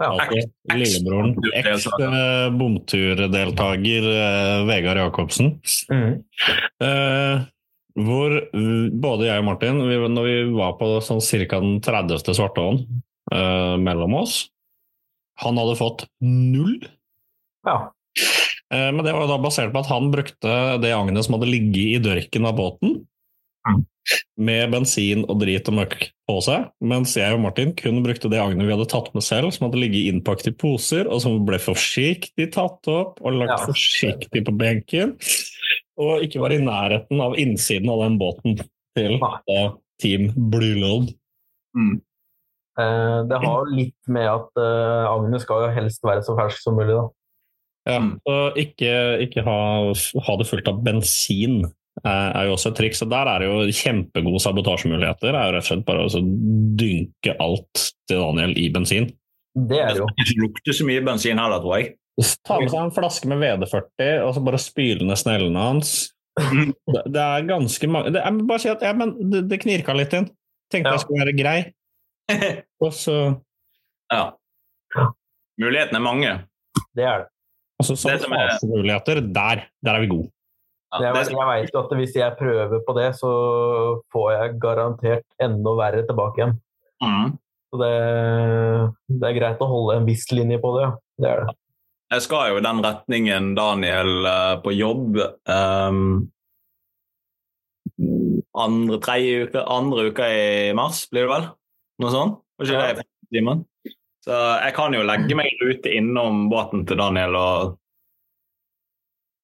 S3: Ja.
S4: altså lillebroren. Eks eh, bomturdeltaker eh, Vegard Jacobsen.
S3: tenkte jeg. Mm.
S4: Eh, Hvor eh, både jeg og Martin, vi, når vi var på sånn cirka den 30. svartåen eh, mellom oss Han hadde fått null.
S3: Ja.
S4: Eh, Men det var jo da basert på at han brukte det agnet som hadde ligget i dørken av båten,
S3: Mm.
S4: med bensin og drit og møkk på seg, mens jeg og Martin kun brukte det agnet vi hadde tatt med selv, som hadde ligget innpakket i poser, og som ble forsiktig tatt opp og lagt
S3: Ja.
S4: forsiktig på benken, og ikke var i nærheten av innsiden av den båten til
S3: Nei.
S4: da, Team Blue Load.
S1: Mm.
S3: Eh, det har jo litt med at eh, agnet skal jo helst være så fersk som mulig, da.
S4: Ja,
S1: Mm.
S4: og ikke, ikke ha, ha det fullt av bensin eh, er jo også et triks. Og der er det jo kjempegode sabotasjemuligheter. Det er jo rett og slett bare å så dynke alt til Daniel i bensin.
S3: Det er
S1: Det
S3: det jo.
S1: skal ikke lukte så mye bensin heller, tror jeg.
S4: Ta med seg en flaske med VD40 og så bare spyle ned snellene hans. Det, det er ganske mange det, Jeg må bare si at ja, men det, det knirka litt inn. Tenkte
S3: Ja.
S4: jeg skulle være grei, og så,
S1: ja. Mulighetene er mange.
S3: Det er det.
S4: og så
S1: Det som er-
S4: sabotasjemuligheter. Der, der er vi gode.
S1: Ja,
S3: Jeg,
S1: det
S3: vet-
S1: som-
S3: jeg veit jo at hvis jeg prøver på det, så får jeg garantert enda verre tilbake igjen.
S1: Mm.
S3: Så det, det er greit å holde en viss linje på det, ja. Det er det.
S1: Jeg skal jo i den retningen, Daniel, eh, på jobb. ehm, andre, tredje uke, andre uka i mars, blir det vel? Noe sånt? Var ikke det i timen? Så jeg kan jo legge meg i rute innom båten til Daniel og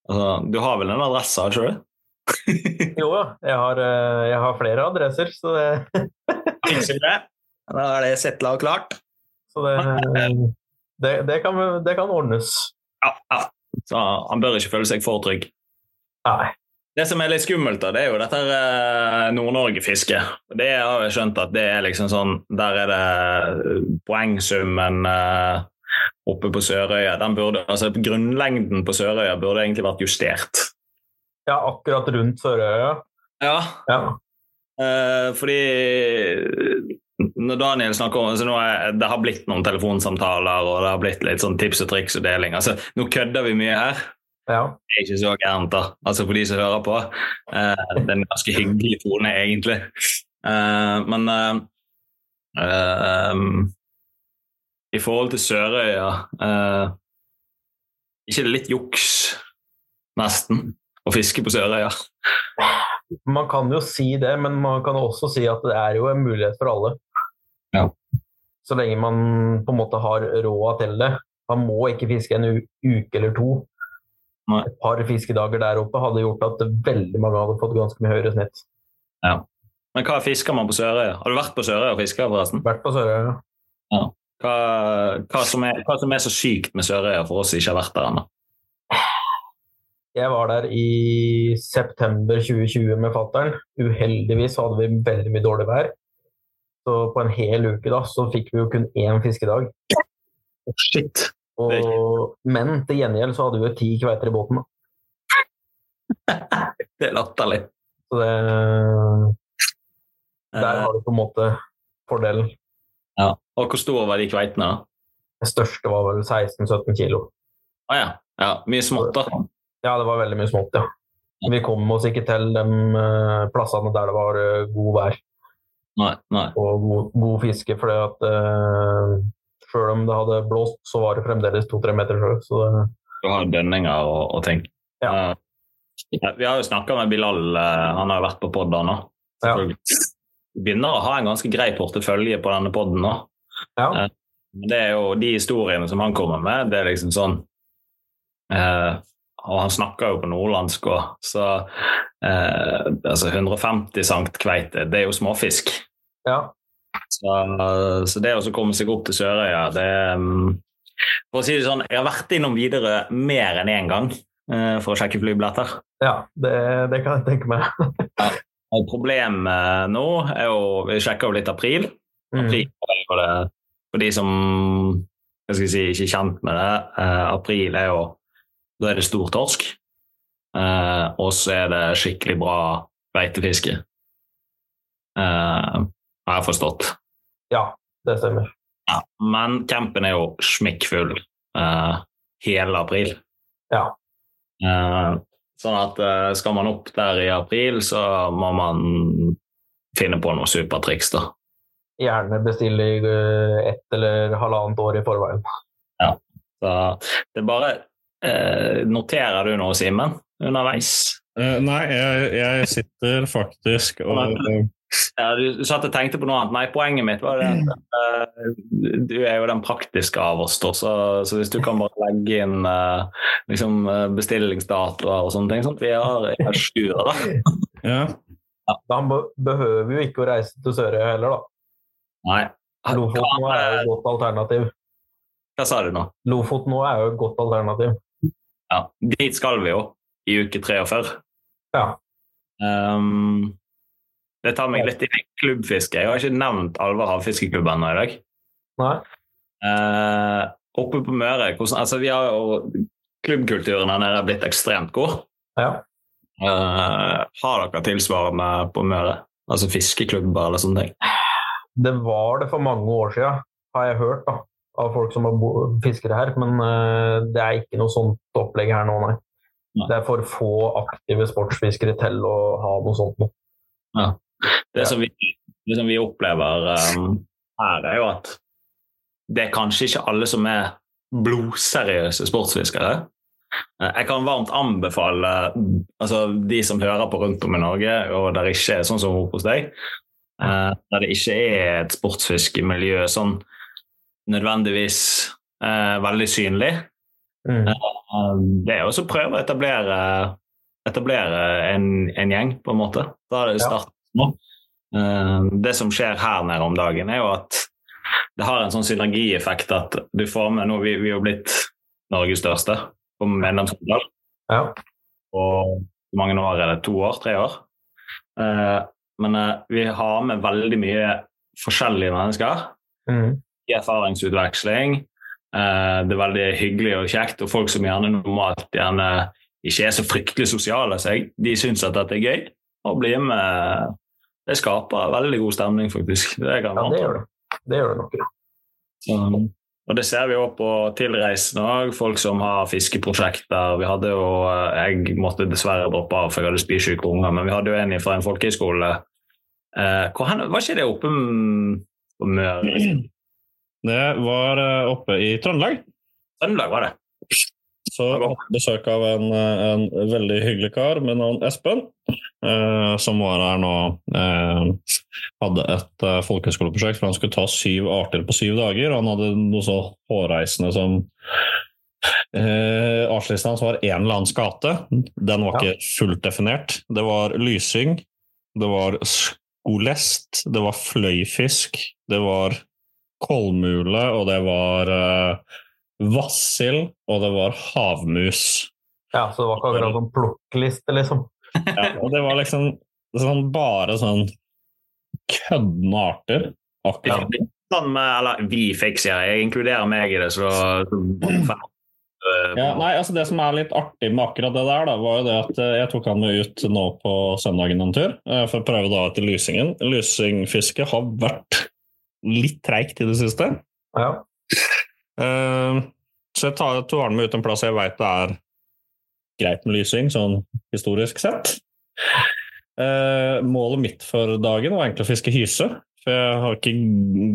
S1: altså, Du har vel en adresse, har ikke du?
S3: Jo ja, jeg har, eh, jeg har flere adresser, så det,
S1: Fikser vi det? Da er det settla og klart.
S3: så det, det, det, kan, det kan ordnes.
S1: Ja, ja. Så han bør ikke føle seg for trygg.
S3: Nei.
S1: Det som er litt skummelt, da, det er jo dette her, eh, Nord-Norge-fisket. Det har jeg skjønt at det er liksom sånn Der er det eh, poengsummen eh, oppe på Sørøya. Den burde, altså Grunnlengden på Sørøya burde egentlig vært justert.
S3: Ja, akkurat rundt Sørøya.
S1: Ja,
S3: Ja.
S1: eh, fordi når Daniel snakker om altså nå er, Det har blitt noen telefonsamtaler og det har blitt litt sånn tips og triks og deling. Altså, Nå kødder vi mye her.
S3: ja.
S1: Det er ikke så gærent, da. Altså for de som hører på. Eh, det er en ganske hyggelig tone, egentlig. Eh, men eh, eh, um, i forhold til Sørøya eh, Ikke det litt juks, nesten, å fiske på Sørøya?
S3: Man kan jo si det, men man kan også si at det er jo en mulighet for alle.
S1: Ja.
S3: Så lenge man på en måte har råd til det. Man må ikke fiske en u- uke eller to.
S1: Nei.
S3: Et par fiskedager der oppe hadde gjort at veldig mange hadde fått ganske mye høyere snitt.
S1: Men hva fisker man på Sørøya? Har du vært på Sørøya og fiska, forresten?
S3: Vært på Sørøya.
S1: Hva, hva, som er, hva som er så sykt med Sørøya for oss som ikke har vært der ennå?
S3: Jeg var der i september 2020 med fattern. Uheldigvis hadde vi veldig mye dårlig vær. Så på en hel uke da, så fikk vi jo kun én fiskedag.
S1: Shit. Det
S3: Og, men til gjengjeld så hadde vi jo ti kveiter i båten. Da.
S1: Det er latterlig.
S3: Så det, der
S1: Eh,
S3: har du på en måte fordelen.
S1: ja. Og hvor stor var de kveitene? da?
S3: Det største var vel 16-17 kilo.
S1: Å ja. ja. Mye smått, da.
S3: Ja, det var veldig mye smått, ja. Vi kom oss ikke til de eh, plassene der det var eh, god vær
S1: Nei, nei.
S3: og god, god fiske, fordi at eh, selv om det hadde blåst, så var det fremdeles to-tre meter sjø. Så det,
S1: Du har dønninger og, og ting.
S3: Ja.
S1: Eh, ja, vi har jo snakka med Bilal, eh, han har jo vært på podd da nå.
S3: Ja.
S1: Selvfølgelig. Vi Begynner å ha en ganske grei portefølje på denne podden nå.
S3: ja.
S1: Eh, Men det er jo de historiene som han kommer med, det er liksom sånn eh, Og han snakker jo på nordlandsk òg, så eh, Altså 150 sankt kveite, det er jo småfisk.
S3: ja.
S1: Så, så det å så komme seg opp til Sørøya, det mm, For å si det sånn, jeg har vært innom Widerøe mer enn én gang eh, for å sjekke flybilletter.
S3: ja det, det kan jeg tenke meg.
S1: Og problemet nå er jo Vi sjekker jo litt april.
S3: Mm.
S1: April er jo det For de som hva skal jeg si, ikke er kjent med det, eh, april er jo Da er det stor torsk. Eh, og så er det skikkelig bra beitefiske. Eh, har jeg forstått.
S3: Ja, det stemmer.
S1: Ja, men campen er jo smekkfull eh, hele april.
S3: Ja.
S1: Eh, Sånn at eh, skal man opp der i april, så må man finne på noen supertriks, da.
S3: Gjerne bestiller eh, ett eller halvannet år i forveien.
S1: Så det er bare eh, Noterer du noe, Simen, underveis?
S4: Eh, nei, jeg, jeg sitter faktisk og
S1: Ja, du satt og tenkte på noe annet. Nei, poenget mitt var det at eh, du er jo den praktiske av oss, da, så, så hvis du kan bare legge inn eh, liksom, eh, bestillingsdatoer og sånne ting, sånn at vi har er à jour, da.
S4: ja.
S3: Han be- behøver jo ikke å reise til Sørøya heller, da.
S1: Nei.
S3: Lofoten nå er jo
S1: Hva,
S3: et godt alternativ.
S1: hva sa du nå?
S3: Lofoten nå er jo et godt alternativ.
S1: Ja, dit skal vi jo i uke 43.
S3: Ja.
S1: Ehm, det tar meg litt inn i klubbfiske. Jeg har ikke nevnt Alver havfiskeklubb ennå i dag.
S3: Nei.
S1: Eh, oppe på Møre hvordan, altså vi har jo, Klubbkulturen her nede er blitt ekstremt god.
S3: Ja.
S1: Eh, har dere tilsvarende på Møre? Altså fiskeklubber eller sånne ting?
S3: Det var det for mange år siden, har jeg hørt da, av folk som er bo- fiskere her. Men eh, det er ikke noe sånt opplegg her nå, nei.
S1: Nei.
S3: Det er for få aktive sportsfiskere til å ha noe sånt nå.
S1: Det,
S3: Ja.
S1: som vi, det som vi opplever ehm, her, er jo at det er kanskje ikke alle som er blodseriøse sportsfiskere. Eh, Jeg kan varmt anbefale eh, altså, de som hører på rundt om i Norge, og der ikke er sånn som hos deg, eh, der det ikke er et sportsfiskemiljø sånn nødvendigvis eh, veldig synlig,
S3: Mm.
S1: Eh, det er jo også å prøve å etablere, etablere en, en gjeng, på en måte. Da er det
S3: Ja.
S1: startet nå. Eh, Det som skjer her nede om dagen, er jo at det har en sånn synergieffekt at du får med nå, vi, vi er jo blitt Norges største på medlemsantall.
S3: Ja.
S1: Og hvor mange år er det? To år? Tre år? Eh, Men eh, vi har med veldig mye forskjellige mennesker
S3: Mm.
S1: i erfaringsutveksling. Eh, Det er veldig hyggelig og kjekt, og folk som gjerne normalt gjerne ikke er så fryktelig sosiale, så jeg, de syns at dette er gøy å bli med. Det skaper veldig god stemning, faktisk. Det kan
S3: ja,
S1: man
S3: det
S1: ta.
S3: gjør det. Det gjør det nok. ja.
S1: Så, og det ser vi jo på tilreisende òg, folk som har fiskeprosjekter. Vi hadde jo, eh, Jeg måtte dessverre droppe av, for jeg hadde spysyke unger, men vi hadde jo en fra en folkehøyskole. Eh, hvor hen, var ikke det oppe mm, på Møre?
S4: Det var eh, oppe i Trøndelag.
S1: Trøndelag, var det?
S4: Så hadde jeg besøk av en, eh, en veldig hyggelig kar med navn Espen, eh, som var her nå eh, Hadde et eh, folkehøyskoleprosjekt, for han skulle ta syv arter på syv dager. og Han hadde noe så hårreisende som eh, Artslisten hans var én eller annen skate. Den var
S3: Ja.
S4: ikke fullt definert. Det var lysing, det var skolest, det var fløyfisk, det var kolmule, og det var eh, vassild, og det var havmus.
S3: ja, så det var ikke akkurat sånn plukkliste, liksom.
S4: Ja, og det var liksom sånn, bare sånn køddende arter.
S1: Ja.
S4: Akkurat.
S1: Sånn med, eller vi fikk, sier jeg. Jeg inkluderer meg i det, så, så
S4: Ja, nei, altså Det som er litt artig med akkurat det der, da, var jo det at eh, jeg tok han med ut nå på søndagen en tur eh, for å prøve da etter lysingen. Lysingfiske har vært litt treigt i det siste.
S3: Ja.
S4: Eh, Så jeg tar, tar han med ut en plass jeg veit det er greit med lysing, sånn historisk sett. Eh, målet mitt for dagen var egentlig å fiske hyse. For jeg har ikke,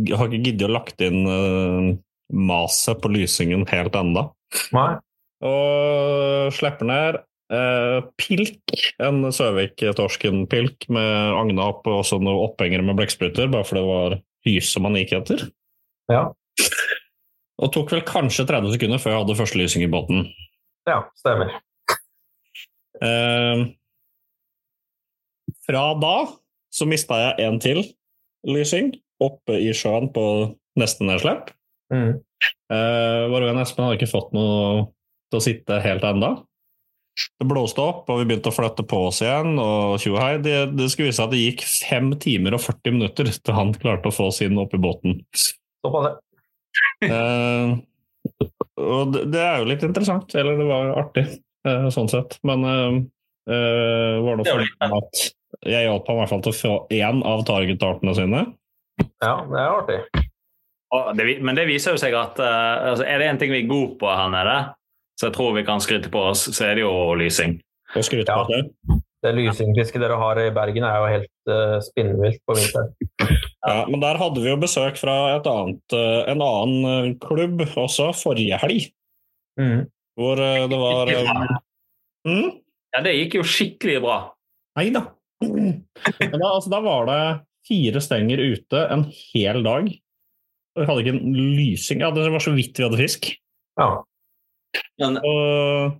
S4: jeg har ikke giddet å lagt inn eh, maset på lysingen helt enda.
S3: Nei.
S4: Og slipper ned eh, pilk, en Søvik-torsken-pilk med agna opp og også noen opphengere med blekkspruter, bare for det var hyse man gikk etter.
S3: Ja.
S4: Og tok vel kanskje 30 sekunder før jeg hadde første lysing i båten.
S3: Ja, stemmer.
S4: Eh, fra da så mista jeg en til lysing oppe i sjøen på neste nedslipp.
S3: Mm.
S4: Eh, Vår venn Espen hadde ikke fått noe til å sitte helt enda. Det blåste opp, og vi begynte å flytte på oss igjen. og tjo og hei, det, det skulle vise seg at det gikk 5 timer og 40 minutter til han klarte å få sin opp i båten.
S3: Såpass, ja.
S4: Eh, og det, det er jo litt interessant, eller det var artig eh, sånn sett. Men eh, eh, var det
S1: Det er jo
S4: for at jeg hjalp ham i hvert fall til å få én av targetartene sine.
S3: ja. Det er artig.
S1: Og det, vi- men det viser jo seg at eh, altså, er det en ting vi er gode på her nede, så jeg tror vi kan skryte på oss, så er det jo lysing.
S4: Og skryteparty.
S3: Det lysingfisket dere har i Bergen, er jo helt eh, spinnvilt på vinteren.
S4: Ja, men der hadde vi jo besøk fra et annet, eh, en annen eh, klubb også forrige helg, hvor eh, det var eh, mm?
S1: Ja, det gikk jo skikkelig bra.
S4: Nei da. Men da, altså, da var det fire stenger ute en hel dag. Og Vi hadde ikke en lysing Ja, det var så vidt vi hadde fisk.
S3: Ja.
S1: Men
S4: Og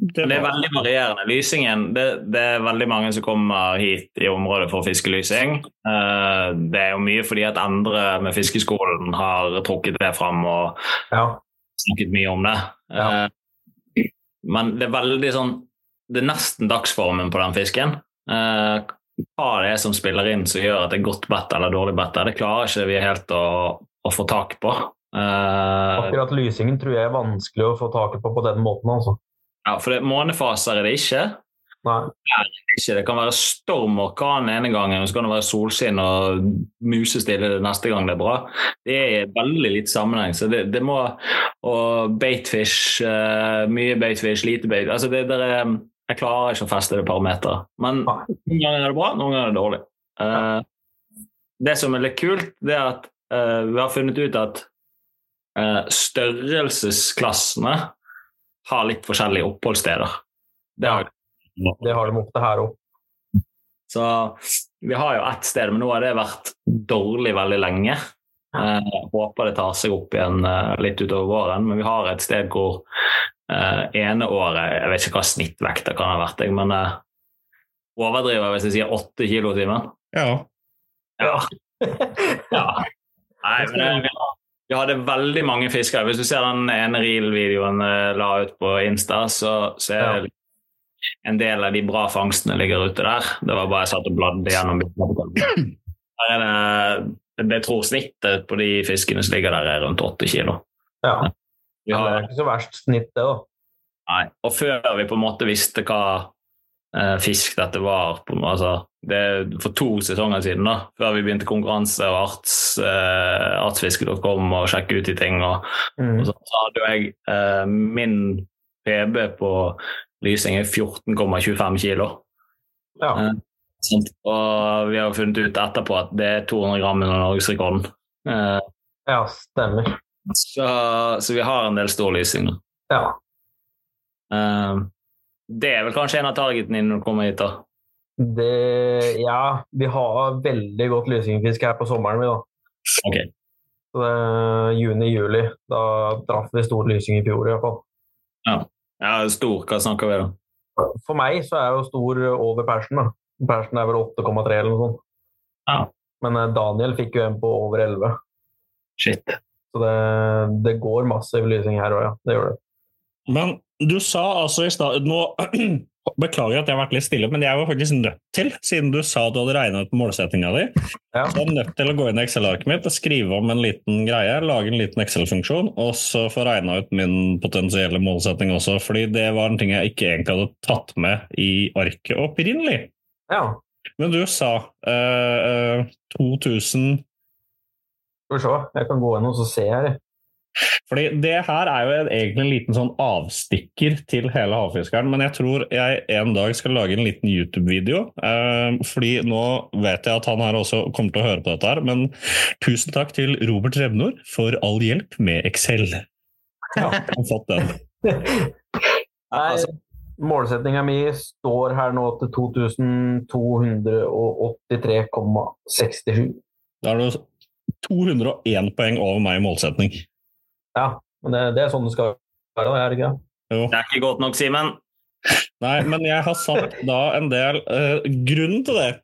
S4: det
S1: det er
S4: var,
S1: veldig varierende. Lysingen det, det er veldig mange som kommer hit i området for fiskelysing. Eh, Det er jo mye fordi at andre med fiskeskolen har trukket det fram og
S3: ja.
S1: snakket mye om det.
S3: Ja.
S1: Eh, Men det er veldig sånn Det er nesten dagsformen på den fisken. Eh, Hva det er som spiller inn som gjør at det er godt bett eller dårlig bett, det klarer ikke vi helt å, å få tak på. Eh,
S3: Akkurat lysingen tror jeg er vanskelig å få taket på på den måten, altså.
S1: Ja, for det, månefaser er det ikke.
S3: Nei.
S1: ikke. Det kan være storm og orkan den ene gangen, og så kan det være solskinn og musestille neste gang det er bra. Det er veldig litt sammenheng. Så det, det må Og baitfish, eh, mye baitfish, lite bait Altså det der er Jeg klarer ikke å feste det parameteret. Men
S3: Nei.
S1: noen ganger er det bra, noen ganger er det dårlig. Eh, det som er litt kult, det er at eh, vi har funnet ut at eh, størrelsesklassene har litt forskjellige oppholdssteder. Det har
S3: Det har de ofte her òg.
S1: så vi har jo ett sted, men nå har det vært dårlig veldig lenge. Eh, håper det tar seg opp igjen eh, litt utover våren, men vi har et sted hvor eh, ene året Jeg vet ikke hva snittvekta kan ha vært, jeg, men eh, overdriver hvis jeg sier åtte kilo i timen.
S4: ja.
S1: Ja. ja. Nei, men det, vi hadde veldig mange fiskere. Hvis du ser den ene reel-videoen jeg la ut på Insta, så, så er det en del av de bra fangstene ligger ute der. Det var bare jeg satt og bladde gjennom bildene. Her er det, jeg tror snittet på de fiskene som ligger der, er rundt åtte kilo.
S3: Ja. Men
S1: Vi
S3: Det
S1: har
S3: er ikke så verst snitt, det, da.
S1: Nei. Og før vi på en måte visste hva eh, fisk dette var på, en måte, altså, det, er For to sesonger siden, da, før vi begynte konkurranse og arts, eh, artsfiske.com og sjekke ut de ting, og,
S3: Mm.
S1: og så, så hadde jo jeg eh, min PB på lysing er 14,25 kilo. Eh,
S3: Ja.
S1: Sant? Og vi har funnet ut etterpå at det er 200 gram under norgesrekorden. Eh,
S3: ja, stemmer.
S1: så, så vi har en del stor lysing nå.
S3: Ja.
S1: Eh, det er vel kanskje en av targetene når du kommer hit. da.
S3: Det Ja, vi har veldig godt lysingfiske her på sommeren, vi, da.
S1: Ok.
S3: Så det er Juni-juli. Da traff vi stor lysing i fjor, i hvert fall.
S1: Ja, stor, hva snakker vi da?
S3: For meg så er jo stor over persen, da. Persen er vel 8,3 eller noe sånt.
S1: Ja.
S3: Men eh, Daniel fikk jo en på over 11.
S1: Shit.
S3: Så det, det går massiv lysing her òg, ja. Det gjør det.
S4: Men du sa altså i stad Nå beklager at jeg har vært litt stille, men jeg var faktisk nødt til, siden du sa du hadde regna ut målsettinga di,
S3: Ja.
S4: så jeg er nødt til å gå inn i Excel-arket mitt og skrive om en liten greie, lage en liten Excel-funksjon, og så få regna ut min potensielle målsetting også. Fordi det var en ting jeg ikke egentlig hadde tatt med i arket opprinnelig.
S3: Ja.
S4: Men du sa eh, eh, 2000
S3: Skal vi se. Jeg kan gå inn og så se her. jeg.
S4: Fordi det her er jo en, egentlig en liten sånn avstikker til hele havfiskeren, men jeg tror jeg en dag skal lage en liten YouTube-video. Eh, fordi nå vet jeg at han her også kommer til å høre på dette her, men tusen takk til Robert Revnor for all hjelp med Excel. Ja, jeg har fått den.
S3: Nei,
S1: Altså-
S3: målsettinga mi står her nå til 2283,67.
S4: Da er du 201 poeng over meg i målsetning.
S3: Ja, men det, det er sånn det skal være, da, er det ikke? det?
S4: Jo.
S1: Det er ikke godt nok, Simen.
S4: Nei, men jeg har satt da en del eh, Grunnen til det eh,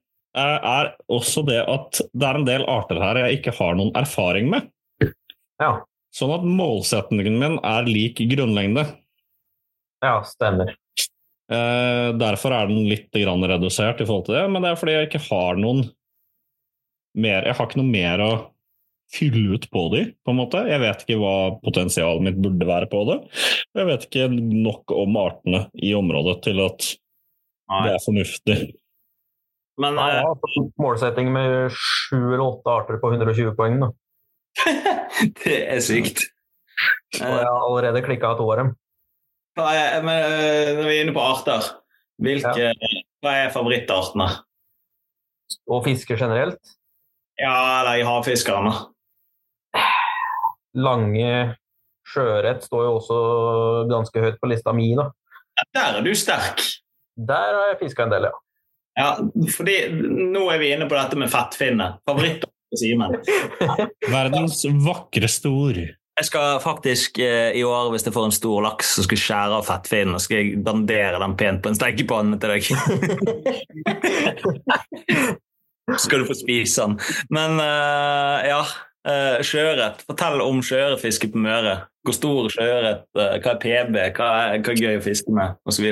S4: er også det at det er en del arter her jeg ikke har noen erfaring med.
S3: Ja.
S4: Sånn at målsettingen min er lik grunnlengde.
S3: Ja, stemmer.
S4: Eh, derfor er den litt grann redusert i forhold til det, men det er fordi jeg ikke har noen mer Jeg har ikke noe mer å fylle ut på de, på en måte. Jeg vet ikke hva potensialet mitt burde være på det. Og jeg vet ikke nok om artene i området til at det er fornuftig.
S1: Men
S3: Ja,
S1: eh,
S3: ja, altså, målsetting med sju eller åtte arter på 120 poeng. Da.
S1: det er sykt. eh,
S3: Og jeg har allerede klikka to av dem.
S1: eh, Nei, men eh, når vi er inne på arter Hvilke, Hva er favorittartene?
S3: Og fisker generelt.
S1: Ja, eller i havfiskerne.
S3: Lange sjøørret står jo også ganske høyt på lista mi, da.
S1: Der er du sterk!
S3: Der har jeg fiska en del, ja.
S1: Ja, fordi nå er vi inne på dette med fettfinne. Favorittarten til Simen.
S4: Verdens vakreste ord.
S1: Jeg skal faktisk eh, i år, hvis jeg får en stor laks, så skal jeg skjære av fettfinnen og skal jeg dandere den pent på en stekepanne til deg. Så skal du få spise den. Men eh, ja, eh, sjøørret. Fortell om sjøørretfiske på Møre. Hvor stor er sjøørret, eh, hva er PB, hva er, hva er gøy å fiske med, osv.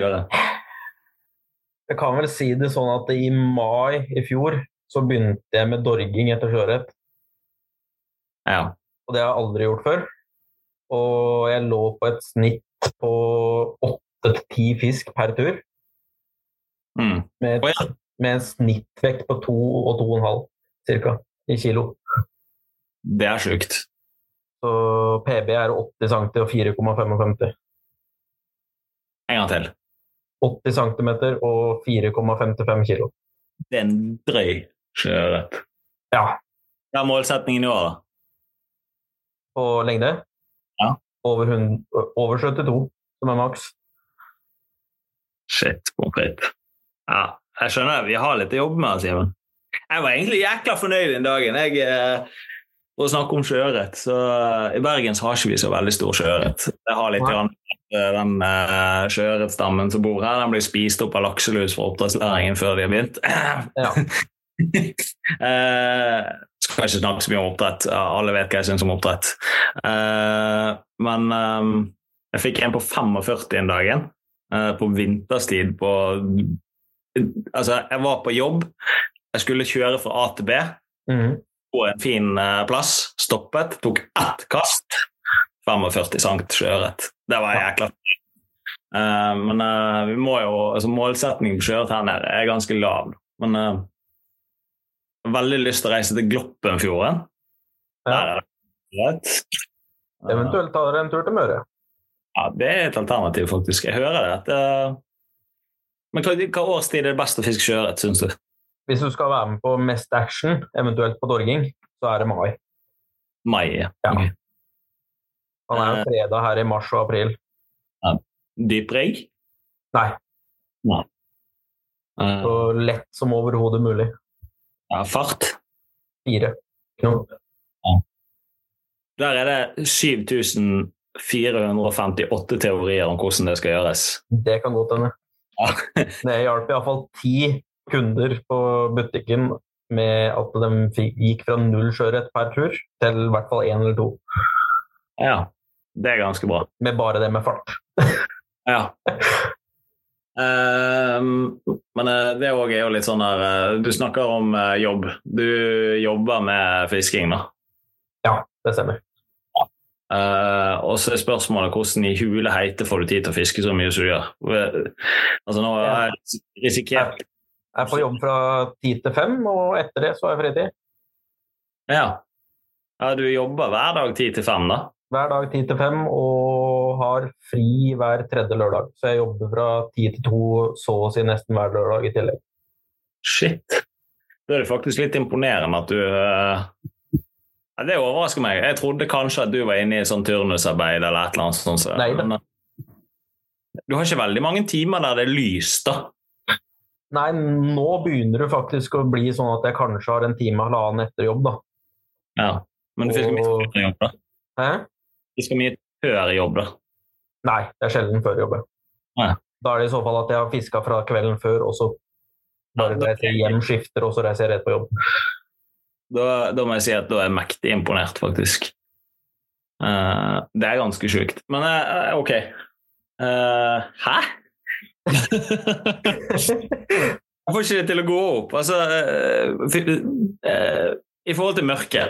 S3: Jeg kan vel si det sånn at i mai i fjor så begynte jeg med dorging etter sjøørret.
S1: Ja.
S3: og det har jeg aldri gjort før. Og jeg lå på et snitt på åtte til ti fisk per tur,
S1: Mm.
S3: med,
S1: Å, ja.
S3: med en snittvekt på to og to og en halv cirka, i kilo.
S1: Det er sjukt.
S3: Så PB er 80 cm og 4,55.
S1: En gang til.
S3: 80 cm og 4,55 kilo.
S1: Det er en drøy sjøørret.
S3: Ja,
S1: Hva er målsettingen i år, da?
S3: på lengde.
S1: Ja.
S3: Over, hun- over 72, som er maks.
S1: Shit, pommes frites. Ja, jeg skjønner. Vi har litt å jobbe med, Simen. Jeg var egentlig jækla fornøyd den dagen. Jeg, eh, for å snakke om sjøørret, så eh, i Bergen så har ikke vi så veldig stor sjøørret. Det har litt
S3: Nei.
S1: grann at, eh, den eh, sjøørretstammen som bor her, den blir spist opp av lakselus fra oppdrettsnæringen før de har begynt.
S3: Ja.
S1: eh, skal ikke snakke så mye om oppdrett. Ja, Alle vet hva jeg syns om oppdrett. Eh, men eh, jeg fikk en på 45 den dagen eh, på vinterstid på Altså, jeg var på jobb. Jeg skulle kjøre fra A til B
S3: Mhm.
S1: på en fin eh, plass. Stoppet, tok ett kast. 45 cm sjøørret. Det var jækla fint. Eh, men eh, vi må jo altså Målsettingen på sjøørret her nede er ganske lav. Men eh, jeg har veldig lyst til å reise til Gloppenfjorden. Der
S3: Ja.
S1: er det sjøørret.
S3: Eventuelt tar dere en tur til Møre.
S1: Ja, det er et alternativ, faktisk. Jeg hører det. At, eh, Men hva, hva årstid er det best å fiske sjøørret, syns du?
S3: Hvis du skal være med på mest action, eventuelt på dorging, så er det mai.
S1: Mai. ja.
S3: Ja.
S1: Ok.
S3: Han er
S1: Eh.
S3: jo freda her i mars og april.
S1: Dyprigg?
S3: Nei,
S1: Eh,
S3: så lett som overhodet mulig.
S1: ja, fart?
S3: Fire. knop.
S1: Der er det 7458 teorier om hvordan det skal gjøres.
S3: Det kan godt hende.
S1: Ja.
S3: Det hjalp iallfall ti kunder på butikken med at de fi- gikk fra null sjøørret per tur til i hvert fall én eller to.
S1: Ja. Det er ganske bra.
S3: Med bare det med fart.
S1: Ja. Ehm, men eh, det òg er jo litt sånn der eh, Du snakker om eh, jobb. Du jobber med fisking, da.
S3: Det stemmer.
S1: Eh, og så er spørsmålet hvordan i hule heite får du tid til å fiske så mye som du gjør? Eh, Altså nå har jeg risikert
S3: Jeg er på jobb fra ti til fem, og etter det så er jeg fritid.
S1: Ja. ja, du jobber hver dag ti til fem, da?
S3: Hver dag ti til fem og har fri hver tredje lørdag. Så jeg jobber fra ti til to så å si nesten hver lørdag i tillegg.
S1: Shit. Da er det faktisk litt imponerende at du eh, ja, Det overrasker meg. Jeg trodde kanskje at du var inne i sånn turnusarbeid eller et eller annet sånt. så-
S3: Neida.
S1: Men, eh, du har ikke veldig mange timer der det er lyst, da.
S3: Nei, nå begynner det faktisk å bli sånn at jeg kanskje har en time halvannen etter jobb, da.
S1: Ja. Men du fisker mye
S3: Og-
S1: før jobb, da.
S3: Hæ?
S1: Fisker mye før jobb, da.
S3: Nei, det er sjelden før jobb.
S1: Nei.
S3: Da er det i så fall at jeg har fiska fra kvelden før, og så bare
S1: da-
S3: reiser jeg hjem, skifter, og så reiser jeg rett på jobb.
S1: Da, da må jeg si at da er jeg mektig imponert, faktisk. Eh, det er ganske sjukt. Men eh, OK. Eh, hæ? Jeg får ikke det til å gå opp. Altså eh, fi- eh, I forhold til mørket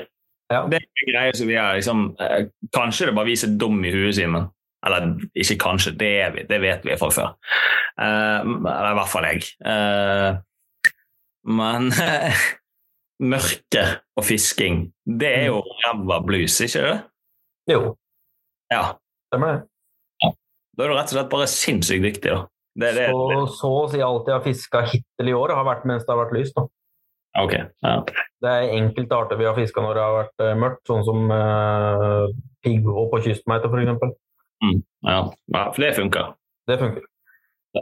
S3: Ja.
S1: Det er en greie som vi er liksom eh, Kanskje det bare vi som er dum i huet, Simen. Eller ikke kanskje, det er vi. Det vet vi fra før. Eh, eller i hvert fall jeg. Eh, men mørke og fisking, det er jo
S3: Mm.
S1: ræva blues, ikke det?
S3: Jo,
S1: Ja.
S3: stemmer det.
S1: Da er du rett og slett bare sinnssykt dyktig, da. Det, det,
S3: så, så å si alt jeg har fiska hittil i år, har vært mens det har vært lyst. da.
S1: Ok. Ja.
S3: Det er enkelte arter vi har fiska når det har vært eh, mørkt, sånn som uh, pigghå på kystmeite f.eks.
S1: Ja. ja, for det funker.
S3: Det funker.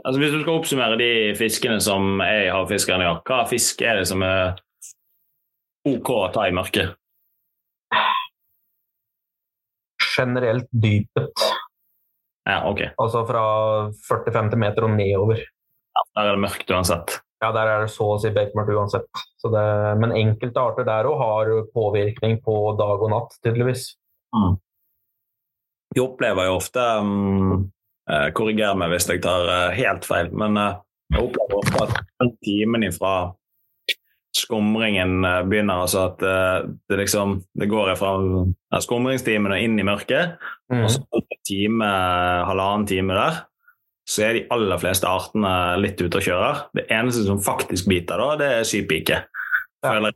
S1: Altså, hvis du skal oppsummere de fiskene som jeg har fiskeren i år, hva fisk er det som er OK å ta i mørket?
S3: Generelt dypet,
S1: Ja, ok.
S3: altså fra 40-50 meter og nedover.
S1: Der er det mørkt uansett.
S3: Ja, der er det så å si bekmørkt uansett. Så det, men enkelte arter der òg har påvirkning på dag og natt, tydeligvis.
S1: Jeg opplever jo ofte mm, eh, Korriger meg hvis jeg tar eh, helt feil, men eh, jeg opplever ofte at den timen ifra skumringen eh, begynner, altså at eh, det liksom Det går fra ja, skumringstimen og inn i mørket,
S3: Mm.
S1: og så en time, eh, halvannen time der, så er de aller fleste artene litt ute og kjører. Det eneste som faktisk biter da, det er sypike.
S3: Ja.
S1: Føler jeg.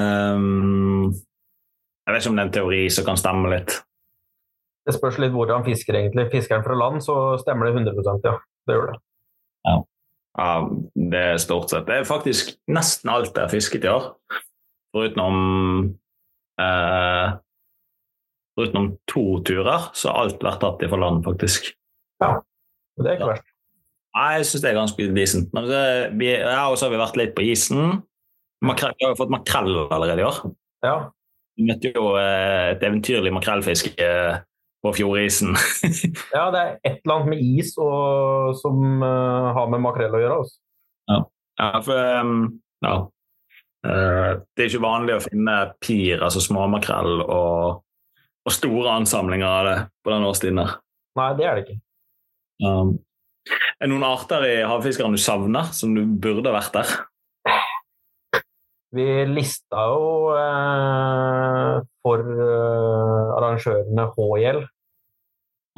S1: Ehm, jeg vet ikke om det er en teori som kan stemme litt.
S3: Det spørs litt hvor han fisker, egentlig. Fisker han fra land, så stemmer det 100 ja. Det gjør det.
S1: Ja, det er stort sett. Det er faktisk nesten alt jeg har fisket i år. Foruten om eh, Foruten om to turer, så har alt vært tatt ifra land, faktisk.
S3: Men Det er ikke
S1: Ja.
S3: verst.
S1: Nei, jeg syns det er ganske decent. Men det, vi, ja, og så har vi vært litt på isen. Makrell, vi har jo fått makrell allerede i år.
S3: Ja.
S1: Vi møtte jo eh, et eventyrlig makrellfiske eh, på fjordisen.
S3: ja, det er et eller annet med is og, som eh, har med makrell å gjøre. Altså.
S1: ja, for ehm, ja. Eh, Det er ikke vanlig å finne pir, altså småmakrell, og, og store ansamlinger av det på den årstiden her.
S3: Nei, det er det ikke.
S1: Um, er det noen arter i havfiskeren du savner, som du burde vært der?
S3: Vi lista jo eh, for eh, arrangørene HL,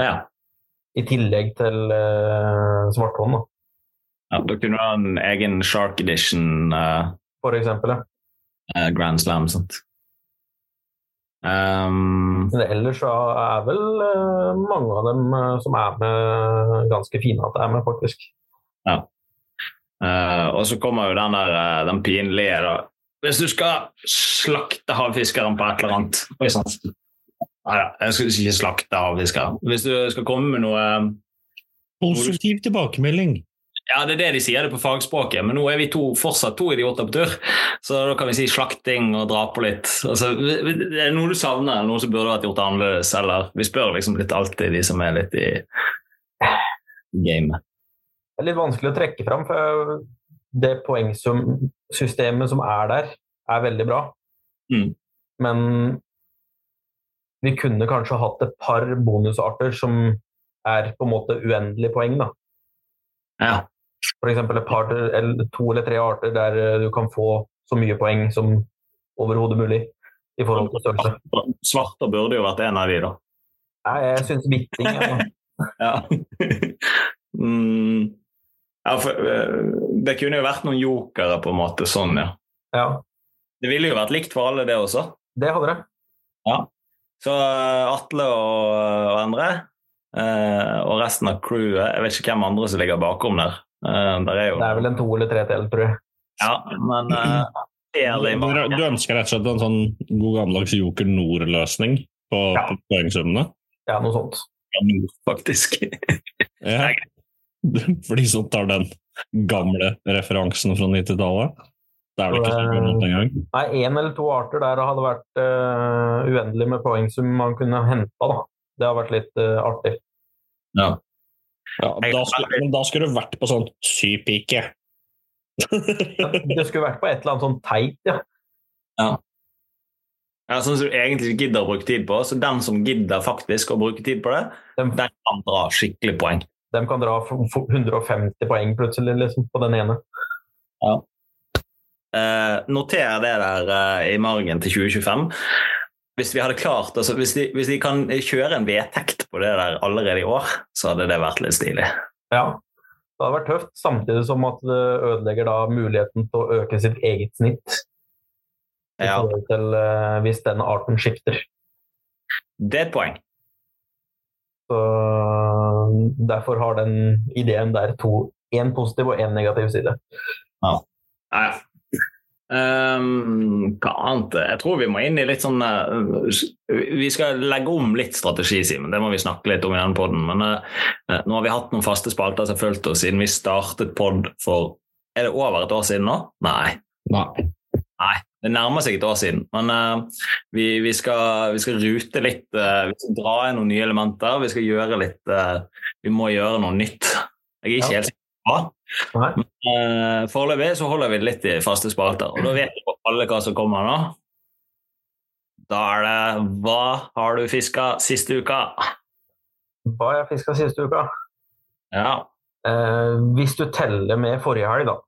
S1: Ja.
S3: i tillegg til eh, Svarthånd, da,
S1: ja da kunne du ha en egen Shark Edition. eh,
S3: for eksempel. ja.
S1: eh, Grand Slam. Sant? Ehm,
S3: Men ellers så er vel eh, mange av dem eh, som er med, ganske fine at det er med, faktisk.
S1: eh, og så kommer jo den der eh, den pinlige da. Hvis du skal slakte havfiskeren på et eller annet Oi sann. Nei da, jeg skal ikke slakte havfiskeren. Hvis du skal komme med noe eh,
S4: Positiv tilbakemelding.
S1: Ja, det er det de sier det på fagspråket, men nå er vi to, fortsatt to idioter på tur. Så da kan vi si slakting og dra på litt. Altså, det er noe du savner, eller noe som burde vært gjort annerledes, eller Vi spør liksom litt alltid de som er litt i gamet.
S3: Det er litt vanskelig å trekke fram, for det poengsystemet som er der, er veldig bra.
S1: Mm.
S3: Men vi kunne kanskje hatt et par bonusarter som er på en måte uendelige poeng. da.
S1: Ja.
S3: F.eks. et par, eller to eller tre arter der eh, du kan få så mye poeng som overhodet mulig i forhold til størrelse.
S1: Svarter burde jo vært en av de, da.
S3: Nei, jeg syns bitting ja.
S1: Ja. mm. ja for, eh, det kunne jo vært noen jokere, på en måte. Sånn, ja.
S3: ja,
S1: Det ville jo vært likt for alle, det også.
S3: det hadde det.
S1: Så eh, Atle og, og Endre eh, og resten av crewet Jeg vet ikke hvem andre som ligger bakom der. Eh, der er jo
S3: Det er vel en to eller tre til, tror jeg.
S1: Ja, men eh,
S4: Du,
S1: Eli Mark-
S4: du ønsker rett og slett en sånn god gammeldags Joker Nord-løsning på,
S3: Ja.
S4: på poengsummene?
S3: Ja, noe sånt.
S1: faktisk.
S4: Ja. For de som tar den gamle referansen fra 90-tallet. Det er vel ikke så gammelt engang.
S3: Nei, én eller to arter der hadde vært eh, uendelig med poeng som man kunne henta, da. Det har vært litt eh, artig.
S4: Ja, da skulle, men da skulle du vært på sånn sypike.
S3: Det skulle vært på et eller annet sånn teit, ja.
S1: Ja, sånn som du egentlig ikke gidder å bruke tid på. Så den som gidder faktisk å bruke tid på det,
S3: Dem,
S1: den kan dra skikkelig poeng.
S3: dem kan dra f- f- 150 poeng plutselig, liksom, på den ene.
S1: Eh, noter det der eh, i margen til 2025. Hvis vi hadde klart, altså hvis de, hvis de kan kjøre en vedtekt på det der allerede i år, så hadde det vært litt stilig.
S3: Ja. Det hadde vært tøft, samtidig som at det ødelegger da muligheten til å øke sitt eget snitt. I
S1: Ja,
S3: forhold til eh, hvis den arten skifter.
S1: det er et poeng.
S3: Så derfor har den ideen der to én positiv og én negativ side.
S1: Nei. Ehm, hva annet? Jeg tror vi må inn i litt sånn eh, Vi skal legge om litt strategi, Simen. Det må vi snakke litt om i denne podden. Men eh, nå har vi hatt noen faste spalter som har fulgt oss siden vi startet pod for Er det over et år siden nå? Nei.
S4: Nei.
S1: Det nærmer seg et år siden. Men eh, vi, vi, skal, vi skal rute litt. eh, vi skal dra inn noen nye elementer. Vi skal gjøre litt eh, Vi må gjøre noe nytt. Jeg er ikke
S3: Ja.
S1: helt sikker på hva.
S3: Nei.
S1: Eh, Foreløpig så holder vi det litt i faste spalter, og da vet jo alle hva som kommer nå. Da er det 'Hva har du fiska siste uka?'
S3: Hva har jeg fiska siste uka?
S1: Ja,
S3: Eh, hvis du teller med forrige helg, da.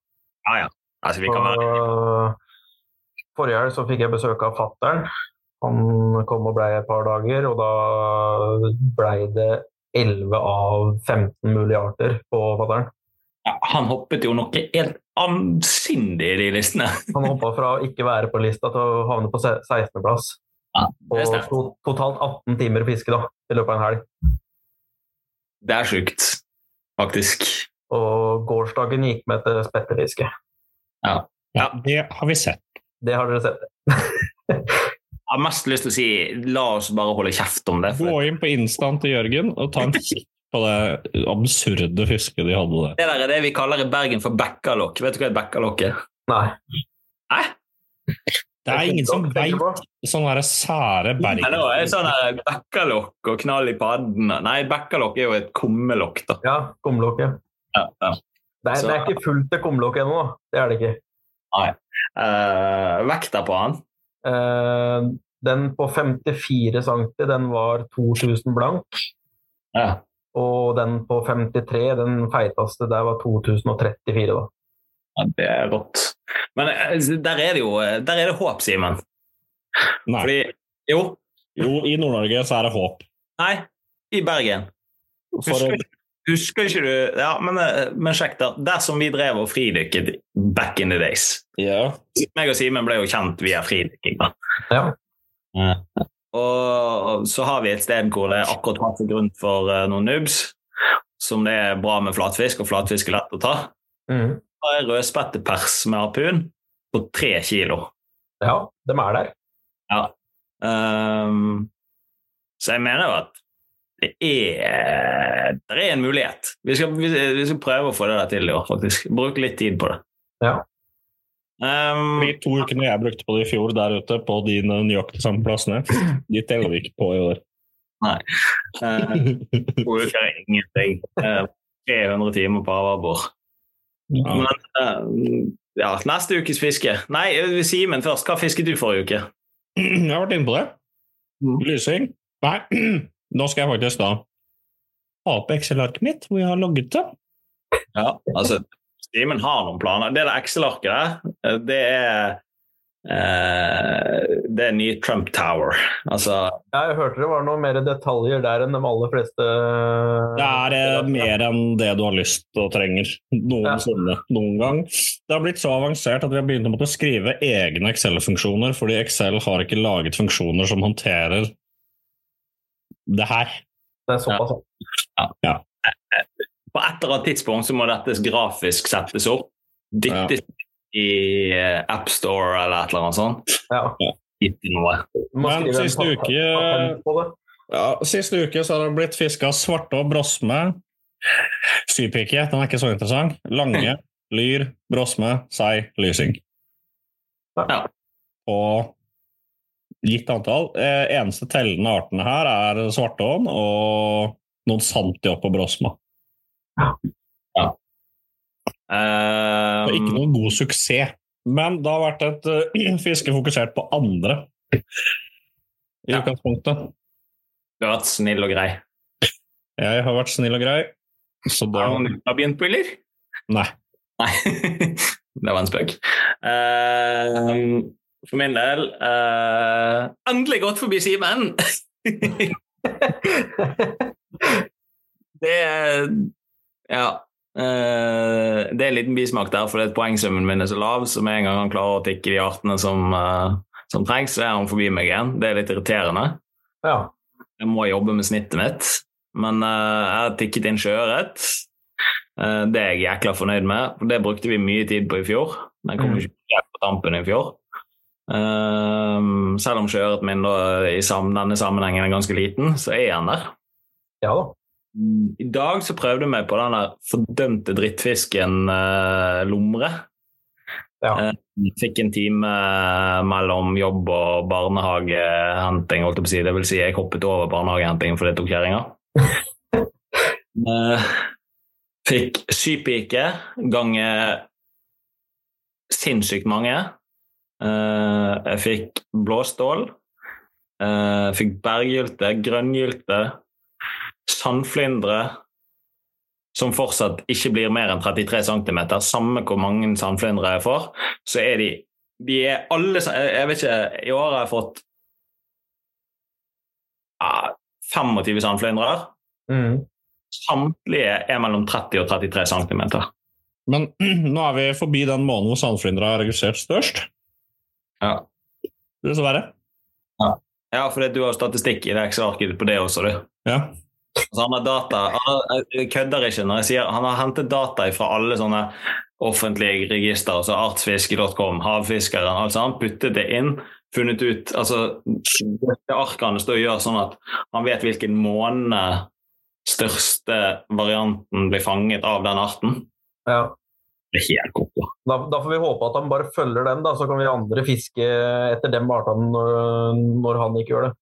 S1: altså vi
S3: Så,
S1: kan være
S3: Forrige helg så fikk jeg besøk av fattern. Han kom og blei et par dager, og da blei det 11 av 15 mulige arter på fattern.
S1: ja, Han hoppet jo noe helt ansindig i de listene.
S3: Han hoppa fra å ikke være på lista til å havne på se- 16.-plass.
S1: Ja,
S3: Og
S1: det er sterkt.
S3: to, totalt 18 timer fiske da, i løpet av en helg.
S1: Det er sjukt, faktisk.
S3: Og gårsdagen gikk med til spettefiske.
S4: Ja, det har vi sett.
S3: Det har dere sett.
S1: Jeg har mest lyst til å si 'la oss bare holde kjeft om det'. For
S4: Gå inn på instaen til Jørgen og ta en kikk på det absurde fisket de hadde der.
S1: det der er det vi kaller i Bergen for bekkalokk. Vet du hva et bekkalokk er?
S3: Nei.
S4: Det er ingen som veit sånne her sære
S1: Nei, det er sånn
S4: berg...
S1: der bekkalokk og knall i padden. Nei, bekkalokk er jo et kummelokk, da.
S3: Ja, kumlokket.
S1: Ja, ja.
S3: Det, er-
S1: Så-
S3: det er ikke fullt til kumlokket ennå, da. det er det ikke.
S1: Eh, vekta på han.
S3: Eh, den på 54 cm, den var 2000 blank. Og den på 53, den feiteste der, var 2034, da.
S1: Ja, det er rått. Men eh, der er det jo der er det håp, Simen.
S4: Nei.
S1: Fordi Jo,
S4: Jo, i Nord-Norge så er det håp.
S1: nei, i Bergen.
S4: For
S1: Husker, husker ikke du Ja, men, eh, men sjekk, da. Dersom vi drev og fridykket back in the days
S4: ja.
S1: meg og Simen ble jo kjent via fridykking. da.
S3: Ja.
S1: Eh, Og så har vi et sted hvor det er akkurat passe grunn for eh, noen noobs, som det er bra med flatfisk, og flatfisk er lett å ta.
S4: Mm.
S3: Mhm.
S1: Da er rødspettepers med harpun på tre kilo.
S3: ja, de er der.
S1: Ehm, så jeg mener jo at det er, det er en mulighet. Vi skal, vi, vi skal prøve å få det der til i år, faktisk. Bruke litt tid på det.
S3: Ja.
S1: Ehm,
S4: De to ukene jeg brukte på det i fjor der ute, på de nøyaktig samme plassene, de teller vi ikke på i år.
S1: eh, to uker er ingenting. Eh, 300 timer på havabbor.
S4: Ja.
S1: Men eh, ja, neste ukes fiske. Nei, eh, Simen først. Hva fisket du forrige uke?
S4: Jeg har vært inne på det. Lysing? Nei, nå skal jeg faktisk da ha opp Excel-arket mitt, hvor jeg har logget det.
S1: Ja, altså, Simen har noen planer. Det der Excel-arket der, eh, det er eh, det er nye Trump Tower. Altså
S3: Ja, jeg hørte det var noe mer detaljer der enn de aller fleste
S4: Det er eh, mer enn det du har lyst og trenger noensinne, noen gang. Det har blitt så avansert at vi har begynt å måtte skrive egne Excel-funksjoner, fordi Excel har ikke laget funksjoner som håndterer det her.
S3: Det er såpass.
S4: Ja.
S1: På et eller annet tidspunkt så må dette grafisk settes opp. Dyttes i eh, AppStore eller et eller annet sånt.
S3: Ja.
S1: Gitt til noe.
S3: Du må
S4: Men
S3: skrive en
S4: siste
S3: pat-
S4: uke-
S3: patent på det.
S4: Ja, siste uke så har det blitt fiska svarte og brosme. Sypike, den er ikke så interessant. Lange, lyr, brosme, sei, lysing.
S1: Ja.
S4: Og gitt antall. Eh, eneste tellende artene her er svartån og noen santi opp på brosma.
S1: Eh,
S4: Det er
S1: Um.
S4: ikke noen god suksess. Men det har vært et eh, fiske fokusert på andre i
S1: Ja.
S4: utgangspunktet.
S1: Du har vært snill og grei.
S4: Jeg har vært snill og grei, så da
S1: Har noen du har begynt på, eller?
S4: Nei.
S1: Nei. det var en spøk. Eh, for min del eh, Endelig gått forbi Simen! det er Ja. eh, det er en liten bismak der, for poengsummen min er så lav, så med en gang han klarer å tikke de artene som, eh, som trengs, så er han forbi meg igjen. Det er litt irriterende.
S3: Ja.
S1: Jeg må jobbe med snittet mitt. Men eh, jeg har tikket inn sjøørret. Eh, det er jeg jækla fornøyd med. for Det brukte vi mye tid på i fjor. Den kom
S3: Mm.
S1: ikke helt på tampen i fjor. Eh, selv om sjøørreten min da, i sam- denne sammenhengen er ganske liten, så er han der.
S3: Ja da.
S1: I dag så prøvde jeg meg på den der fordømte drittfisken eh, lomre.
S3: Ja.
S1: Eh, fikk en time eh, mellom jobb og barnehagehenting, holdt jeg på å si. Det vil si, jeg hoppet over barnehagehenting for det tok kjerringa. Eh, fikk sypike ganger sinnssykt mange. Eh, jeg fikk blåstål. Eh, fikk berggylte, grønngylte, sandflyndre, som fortsatt ikke blir mer enn 33 cm. Samme hvor mange sandflyndre jeg får, så er de De er alle sa- Jeg jeg vet ikke I år har jeg fått ah, 25 sandflyndrer.
S3: Mm.
S1: Samtlige er mellom 30 og 33 cm.
S4: Men nå er vi forbi den måneden hvor sandflyndra er registrert størst.
S1: Ja.
S4: Dessverre.
S1: Ja, for du har jo statistikk i det Excel-arket på det også, du.
S4: Ja.
S1: Altså, han har data han har, Jeg kødder ikke når jeg sier han har hentet data fra alle sånne offentlige register, altså artsfiske.com, Havfiskeren. altså Han puttet det inn, funnet ut altså det Arkene står og gjør sånn at han vet hvilken måned største varianten blir fanget av den arten.
S3: Ja.
S1: Det er helt koko.
S3: Da, da får vi håpe at han bare følger den, da, så kan vi andre fiske etter dem artene når, når han ikke gjør det.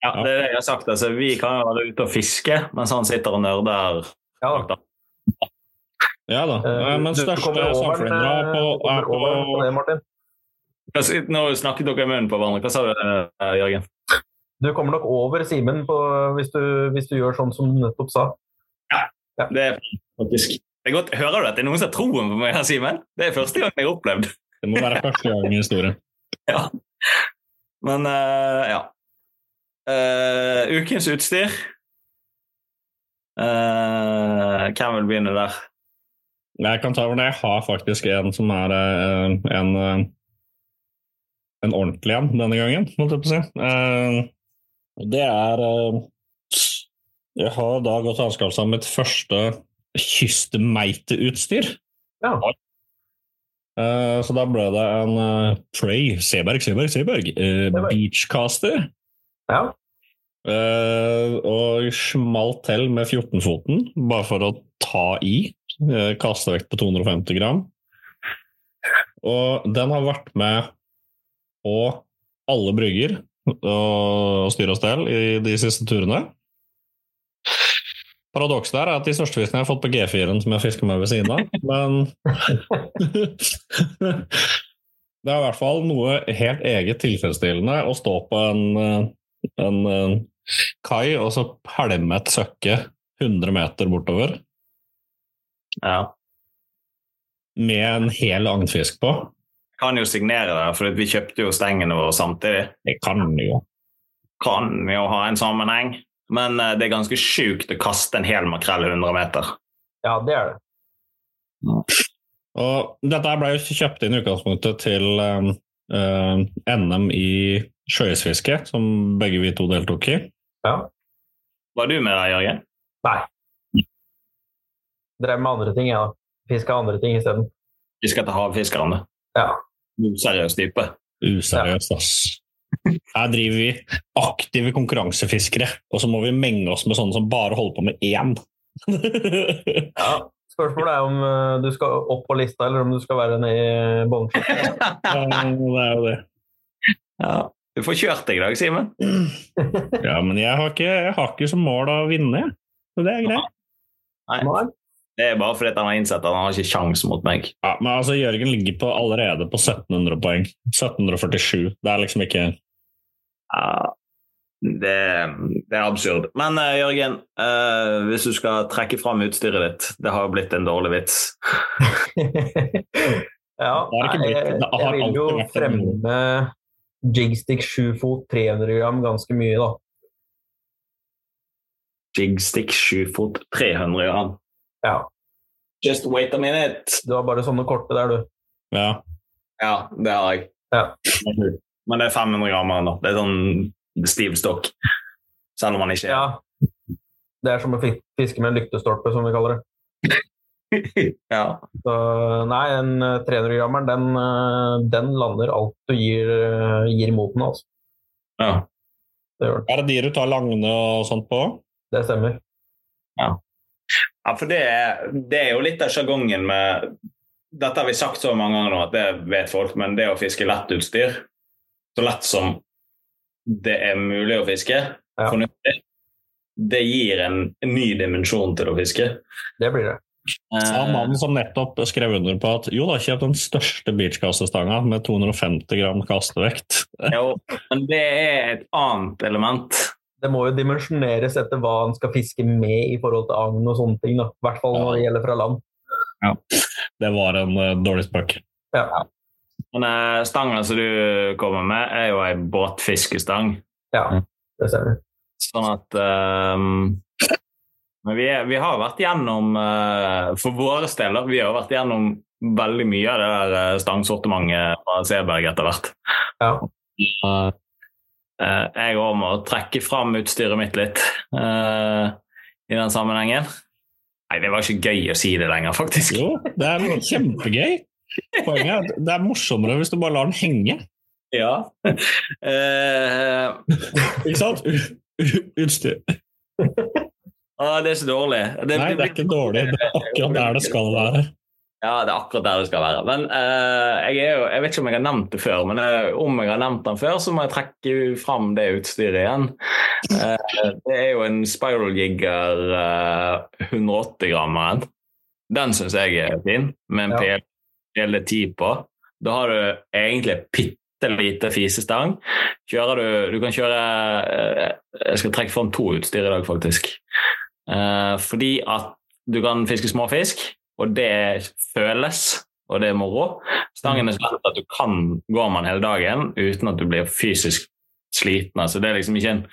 S1: Ja, det er det jeg har sagt. altså Vi kan jo være ute og fiske mens han sitter og nerder.
S3: Ja, da.
S1: bak der.
S4: ja da.
S3: Eh,
S4: Eh, Men
S3: du- du
S4: største
S3: kommer over den,
S4: sandflyndra
S3: eh,
S4: på,
S3: du kommer
S4: er på
S3: over den på det, Martin.
S1: Hva s- Nå snakket dere i munnen på hverandre. Hva sa du, eh, Jørgen?
S3: Du kommer nok over Simen på- hvis, du- hvis du gjør sånn som du nettopp sa.
S1: Det er faktisk det er godt. Hører du at det er noen som har troen på meg her, Simen? Det er første gang jeg har opplevd.
S4: Det må være første gang i historien.
S1: Men eh, ja. Eh, ukens utstyr Eh, Hvem vil begynne der?
S4: Jeg kan ta over det. Jeg har faktisk en som er eh, en, eh, en ordentlig en denne gangen, måtte jeg på å si. Eh, og Det er eh, Jeg har da gått og anskaffet meg mitt første kystmeiteutstyr.
S3: Ja.
S4: Eh, Så da ble det en eh, Prey Seberg, Seberg, Seberg eh,
S3: Seberg.
S4: beachcaster.
S3: Ja.
S4: Eh, og smalt til med 14-foten, bare for å ta i. Eh, Kastevekt på 250 gram. Og den har vært med på alle brygger og styr og stell i de siste turene. Paradokset der er at de største fiskene jeg har fått på G4-en som jeg fisker med ved siden av, men Det er i hvert fall noe helt eget tilfredsstillende å stå på en eh, en eh, kai og så pælme et søkke 100 meter bortover
S1: Ja.
S4: med en hel agnfisk på.
S1: Jeg kan jo signere det, for vi kjøpte jo stengene våre samtidig.
S4: Det kan du jo.
S1: Kan jo ha en sammenheng, men eh, det er ganske sjukt å kaste en hel makrell 100 meter.
S3: ja, det er det.
S4: Og dette her ble jo kjøpt inn i utgangspunktet til eh, eh, NM i sjøisfiske, som begge vi to deltok i.
S1: Var du med der, Jørgen?
S3: Drev med andre ting, jeg, da. Fiska andre ting isteden.
S1: Vi skal til havfiskeren, du.
S3: Ja.
S1: Useriøs type.
S4: Useriøst, ass. Her driver vi aktive konkurransefiskere, og så må vi menge oss med sånne som bare holder på med én.
S3: Ja. Spørsmålet er om eh, du skal opp på lista, eller om du skal være nede i bånnsjiktet.
S4: Ja, det er jo det.
S1: Ja. Du får kjørt deg i dag, Simen.
S4: Ja, men jeg har ikke, jeg har ikke som mål å vinne, jeg. så det er greit.
S1: Det er bare fordi at han har innsett at han har ikke kjangs mot meg.
S4: Ja, men altså, Jørgen ligger på, allerede på 1700 poeng. 1747. Det er liksom ikke
S1: Ja, det, det er absurd. Men eh, Jørgen, eh, hvis du skal trekke fram utstyret ditt Det har jo blitt en dårlig vits.
S3: ja,
S4: Det har ikke
S3: nei,
S4: blitt-
S3: jeg,
S4: det har
S3: jeg vil jo
S4: alltid vært en moro.
S3: fremme jigstick 7 fot 300 gram ganske mye, da.
S1: Jigstick 7 fot 300 gram.
S3: Ja.
S1: Just wait a minute!
S3: Du har bare sånne korte der, du.
S4: Ja.
S1: Ja, det har jeg.
S3: Ja.
S1: Men det er 500 gram her nå. Det er sånn stiv stokk. Selv om han ikke er
S3: Ja. Det er som å fi- fiske med en lyktestolpe, som vi kaller det.
S1: Ja.
S3: Så, nei, en eh, 300-grammeren, den, eh, den lander alt du gir, eh, gir mot den, altså.
S1: ja.
S3: Det gjør den.
S4: Er det de du tar langene og sånt på?
S3: Det stemmer.
S1: Ja, for det er, det er jo litt av sjargongen med Dette har vi sagt så mange ganger nå at det vet folk, men det å fiske lett utstyr, så lett som det er mulig å fiske,
S3: Ja.
S1: fornuftig, det gir en ny dimensjon til å fiske.
S3: Det blir det.
S1: Eh.
S4: Av mannen som nettopp skrev under på at jo da, kjøp den største beachkastestanga med 250 gram kastevekt.
S1: Eh, jo, men det er et annet element.
S3: Det må jo dimensjoneres etter hva en skal fiske med i forhold til agn og sånne ting. da. I hvert fall når det gjelder fra land.
S4: Det var en eh, dårlig spøk.
S3: Ja.
S1: Men eh, stangen som du kommer med, er jo ei båtfiskestang.
S3: ja det ser vi.
S1: Sånn at ehm, Men vi, er, vi har vært gjennom eh, For våre deler, vi har vært gjennom veldig mye av det der eh, stangsortimentet fra Seberg etter hvert.
S3: Ja.
S1: Eh, eh, jeg òg må trekke fram utstyret mitt litt eh, i den sammenhengen. Nei, det var ikke gøy å si det lenger, faktisk.
S4: Jo, det er kjempegøy. Poenget er at det er morsommere hvis du bare lar den henge.
S1: Ja. Eh,
S4: Ikke sant? U- u- Utstyr.
S1: å, det er så dårlig. Det-
S4: Nei, det er ikke dårlig. Det er akkurat der det skal være.
S1: Ja, det er akkurat der det skal være. Men eh, jeg, er jo, jeg vet ikke om jeg har nevnt det før, men eh, om jeg har nevnt den før, så må jeg trekke fram det utstyret igjen. Eh, det er jo en Spiral Jigger 180-grammeren. Den syns jeg er fin, med en
S3: Ja.
S1: PL PL10 på. Da har du egentlig bitte lite fisestang. Kjører du Du kan kjøre eh, Jeg skal trekke fram to utstyr i dag, faktisk. Eh, fordi at du kan fiske småfisk, og det føles, og det er moro. Stangen er så lett at du kan gå med den hele dagen uten at du blir fysisk sliten. Altså, det er liksom ikke en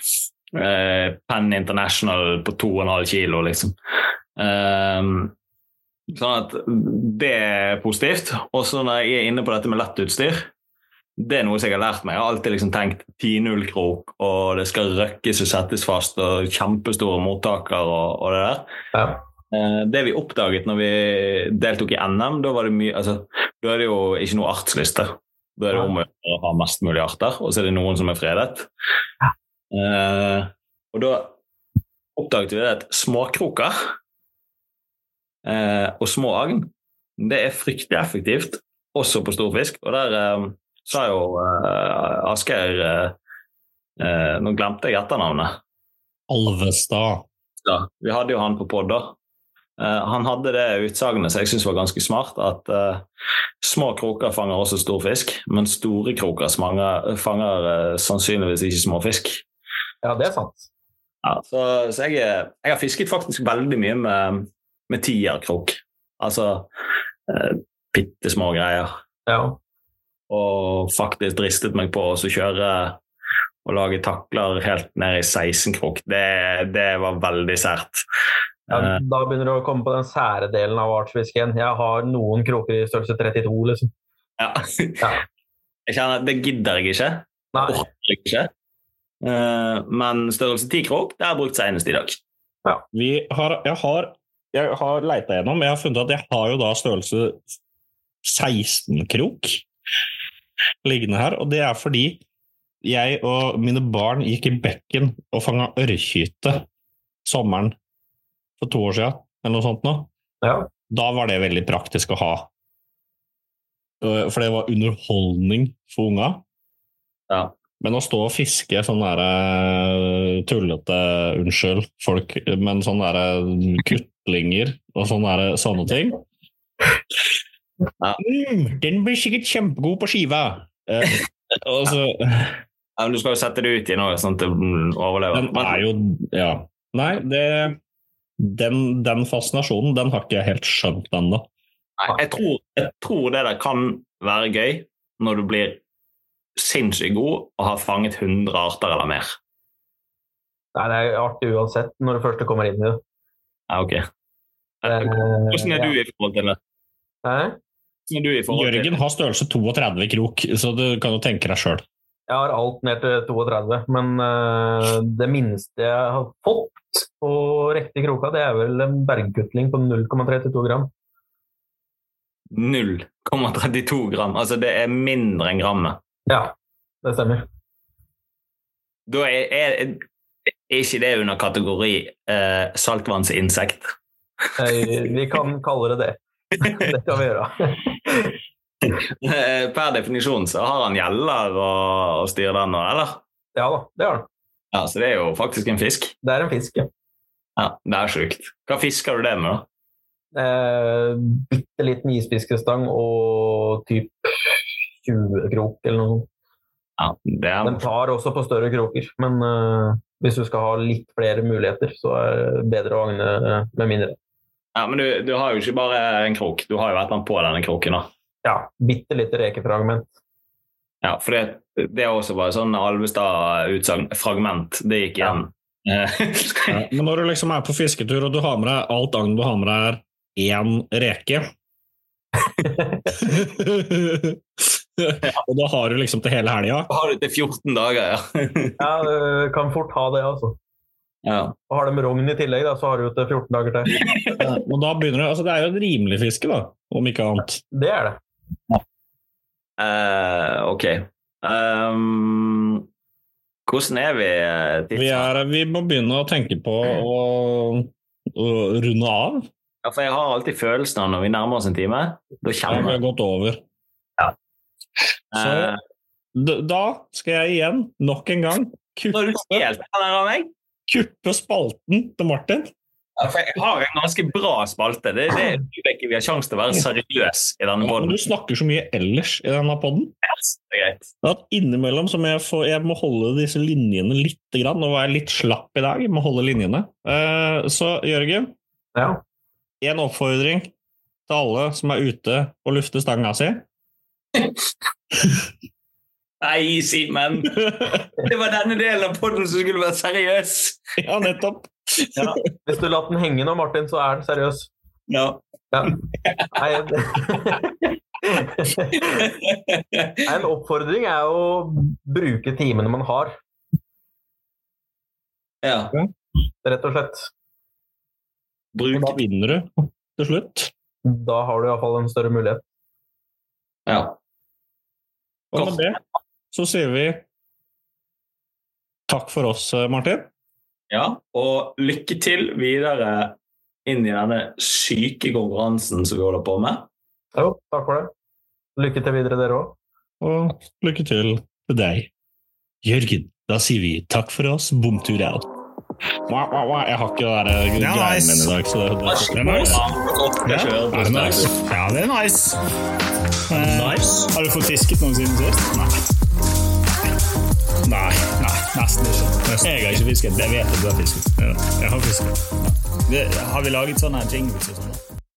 S1: eh, Penn International på 2,5 kilo, liksom. Ehm, sånn at det er positivt. Og så når jeg er inne på dette med lett utstyr, det er noe som jeg har lært meg. Jeg har alltid liksom tenkt 10-0-krok, og det skal røkkes og settes fast, og kjempestore mottaker og, og det der.
S3: Ja.
S1: Eh, Det vi oppdaget når vi deltok i NM, da var det mye altså, Da er det jo ikke noe artsliste. Da er det om å gjøre å ha mest mulig arter, og så er det noen som er fredet. Eh, og da oppdaget vi det at småkroker eh, og små agn, det er fryktelig effektivt, også på stor fisk. Og der eh, sa jo eh, Asgeir eh, eh, Nå glemte jeg etternavnet.
S4: Alvestad.
S1: Ja, vi hadde jo han på podd da. Eh, han hadde det utsagnet som jeg syns var ganske smart, at eh, små kroker fanger også stor fisk, men store kroker smanger, fanger eh, sannsynligvis ikke små fisk.
S3: ja, det er sant.
S1: Ja, så så jeg, er- jeg har fisket faktisk veldig mye med, med tierkrok. Altså uh, bitte små greier.
S3: Ja.
S1: Og faktisk dristet meg på å også kjøre og lage takler helt ned i 16-krok. Det, det var veldig sært.
S3: Ja,
S1: Eh,
S3: da begynner du å komme på den sære delen av artsfisken. Jeg har noen kroker i størrelse 32, liksom.
S1: Ja.
S3: Ja.
S1: Jeg kjenner at det gidder jeg ikke.
S3: Nei.
S1: Det orker jeg ikke. Eh, men størrelse 10 krok, det har jeg brukt senest i dag.
S4: Vi har, jeg har, jeg har leita gjennom, jeg har funnet at jeg har jo da størrelse 16 krok liggende her, og det er fordi jeg og mine barn gikk i bekken og fanga ørrkyte sommeren for to år siden, eller noe sånt nå.
S3: Ja.
S4: Da var det veldig praktisk å ha. Eh, For det var underholdning for unga.
S1: Ja.
S4: Men å stå og fiske sånn der eh, tullete Unnskyld, folk, men sånn der kutlinger og sånne, der, eh, sånne ting
S1: Ja.
S4: mm, Den blir sikkert kjempegod på skiva! Eh, og så,
S1: Ja, men du skal jo sette det ut i noe sånn at det mm, overlever.
S4: den er jo Ja. Nei, det den, den fascinasjonen, den har ikke jeg helt skjønt ennå.
S1: Nei, jeg, tror, jeg tror det der kan være gøy når du blir sinnssykt god og har fanget 100 arter eller mer.
S3: Nei, det er artig uansett når du først kommer inn i det.
S1: Ja, ok.
S4: Eh,
S1: Hvordan
S3: Hvordan
S1: er du i forhold til det?
S3: Hæ?
S1: Hvordan er du i forhold til
S4: Jørgen har størrelse 32 krok, så du kan jo tenke deg sjøl.
S3: Jeg har alt ned til 32, men eh, det minste jeg har fått på riktig kroka, det er vel en bergkutling på 0,32 gram.
S1: 0,32 gram. Altså det er mindre enn grammet.
S3: Ja, det stemmer.
S1: Da er, er, er ikke det under kategori eh, saltvannsinsekt.
S3: Eh, vi kan kalle det det. Det kan vi gjøre.
S1: Eh, Per definisjon så har han gjeller og, og styrer den nå, eller?
S3: Ja da, det har den.
S1: Ja, Så det er jo faktisk en fisk.
S3: Det er en fisk, ja.
S1: Ja, Det er sjukt. Hva fisker du det med, da?
S3: Eh, bitte liten isfiskestang og typ 20 krok eller noe. sånt.
S1: Ja, det er
S3: Den tar også på større kroker, men eh, hvis du skal ha litt flere muligheter, så er det bedre å agne eh, med mindre.
S1: Ja, men du, du har jo ikke bare en krok, du har jo et eller annet på denne kroken. da.
S3: Ja, bitte lite rekefragment.
S1: Ja, For det, det også var sånn Alvestad-utsagn. Fragment. Det gikk igjen.
S4: Ja,
S1: Eh,
S4: Men når du liksom er på fisketur, og du har med deg alt agn du har med deg, er én reke Og da har du liksom til hele helga.
S1: har du til 14 dager, ja.
S3: Ja, du kan fort ha det, altså.
S1: ja.
S3: Og har de rogn i tillegg, da, så har du jo til 14 dager til.
S4: Og da begynner du Altså, det er jo et rimelig fiske, da, om ikke annet.
S3: Det er det.
S1: Eh, ok. Ehm, hvordan er vi? eh, tids-
S4: Vi, er, vi må begynne å tenke på å, å runde av.
S1: Ja, for jeg har alltid følelsen av når vi nærmer oss en time. Da
S4: Ja, vi
S1: kjenner jeg
S4: har gått over. Så
S1: Eh,
S4: d- da skal jeg igjen, nok en gang,
S1: Nå er du
S4: kuppe,
S1: helt venner av meg.
S4: kuppe spalten til Martin.
S1: Ja, for jeg har en ganske bra spalte. Det, det er det ikke vi har sjanse til å være seriøs i denne
S4: Men
S1: båten.
S4: du snakker så mye ellers i denne podden
S1: Det er greit.
S4: at innimellom så må jeg, få, jeg må holde disse linjene litt grann, og være litt slapp i dag. Jeg må holde linjene. Eh, så Jørgen,
S3: Ja.
S4: en oppfordring til alle som er ute og lufter stanga si.
S1: Nei, Simen! Det var denne delen av podden som skulle være seriøs!
S4: ja, nettopp.
S3: Hvis du lar den henge nå, Martin, så er den seriøs.
S1: Ja.
S3: Ja. Nei, Nei, en oppfordring er å bruke timene man har,
S1: ja.
S3: rett og slett.
S4: Og
S1: Bruk
S4: da vinner du til slutt.
S3: Da har du iallfall en større mulighet.
S1: ja.
S4: Og med det så sier vi takk for oss, eh, Martin.
S1: ja. Og lykke til videre inn i denne syke konkurransen som vi holder på med.
S3: Jo, takk for det. Lykke til videre, dere òg.
S4: Og lykke til til deg. Jørgen, da sier vi takk for oss, bomtur out. Wah, wah, wah. Jeg har ikke det der eh,
S2: Det er
S4: greiene
S2: nice.
S4: mine i dag, så det, det,
S2: Det er nice.
S1: Jeg kjører
S2: Ja,
S1: på
S2: det er nice.
S1: sterk.
S2: Ja, det er nice. Eh, Har du fått fisket noe siden sist? Nei. Nei, nei, nesten ikke. Jeg har ikke fisket. Jeg vet at du har fisket. Ja, Jeg har fisket. Ja. Det, har vi laget sånne jingles og sånn? da?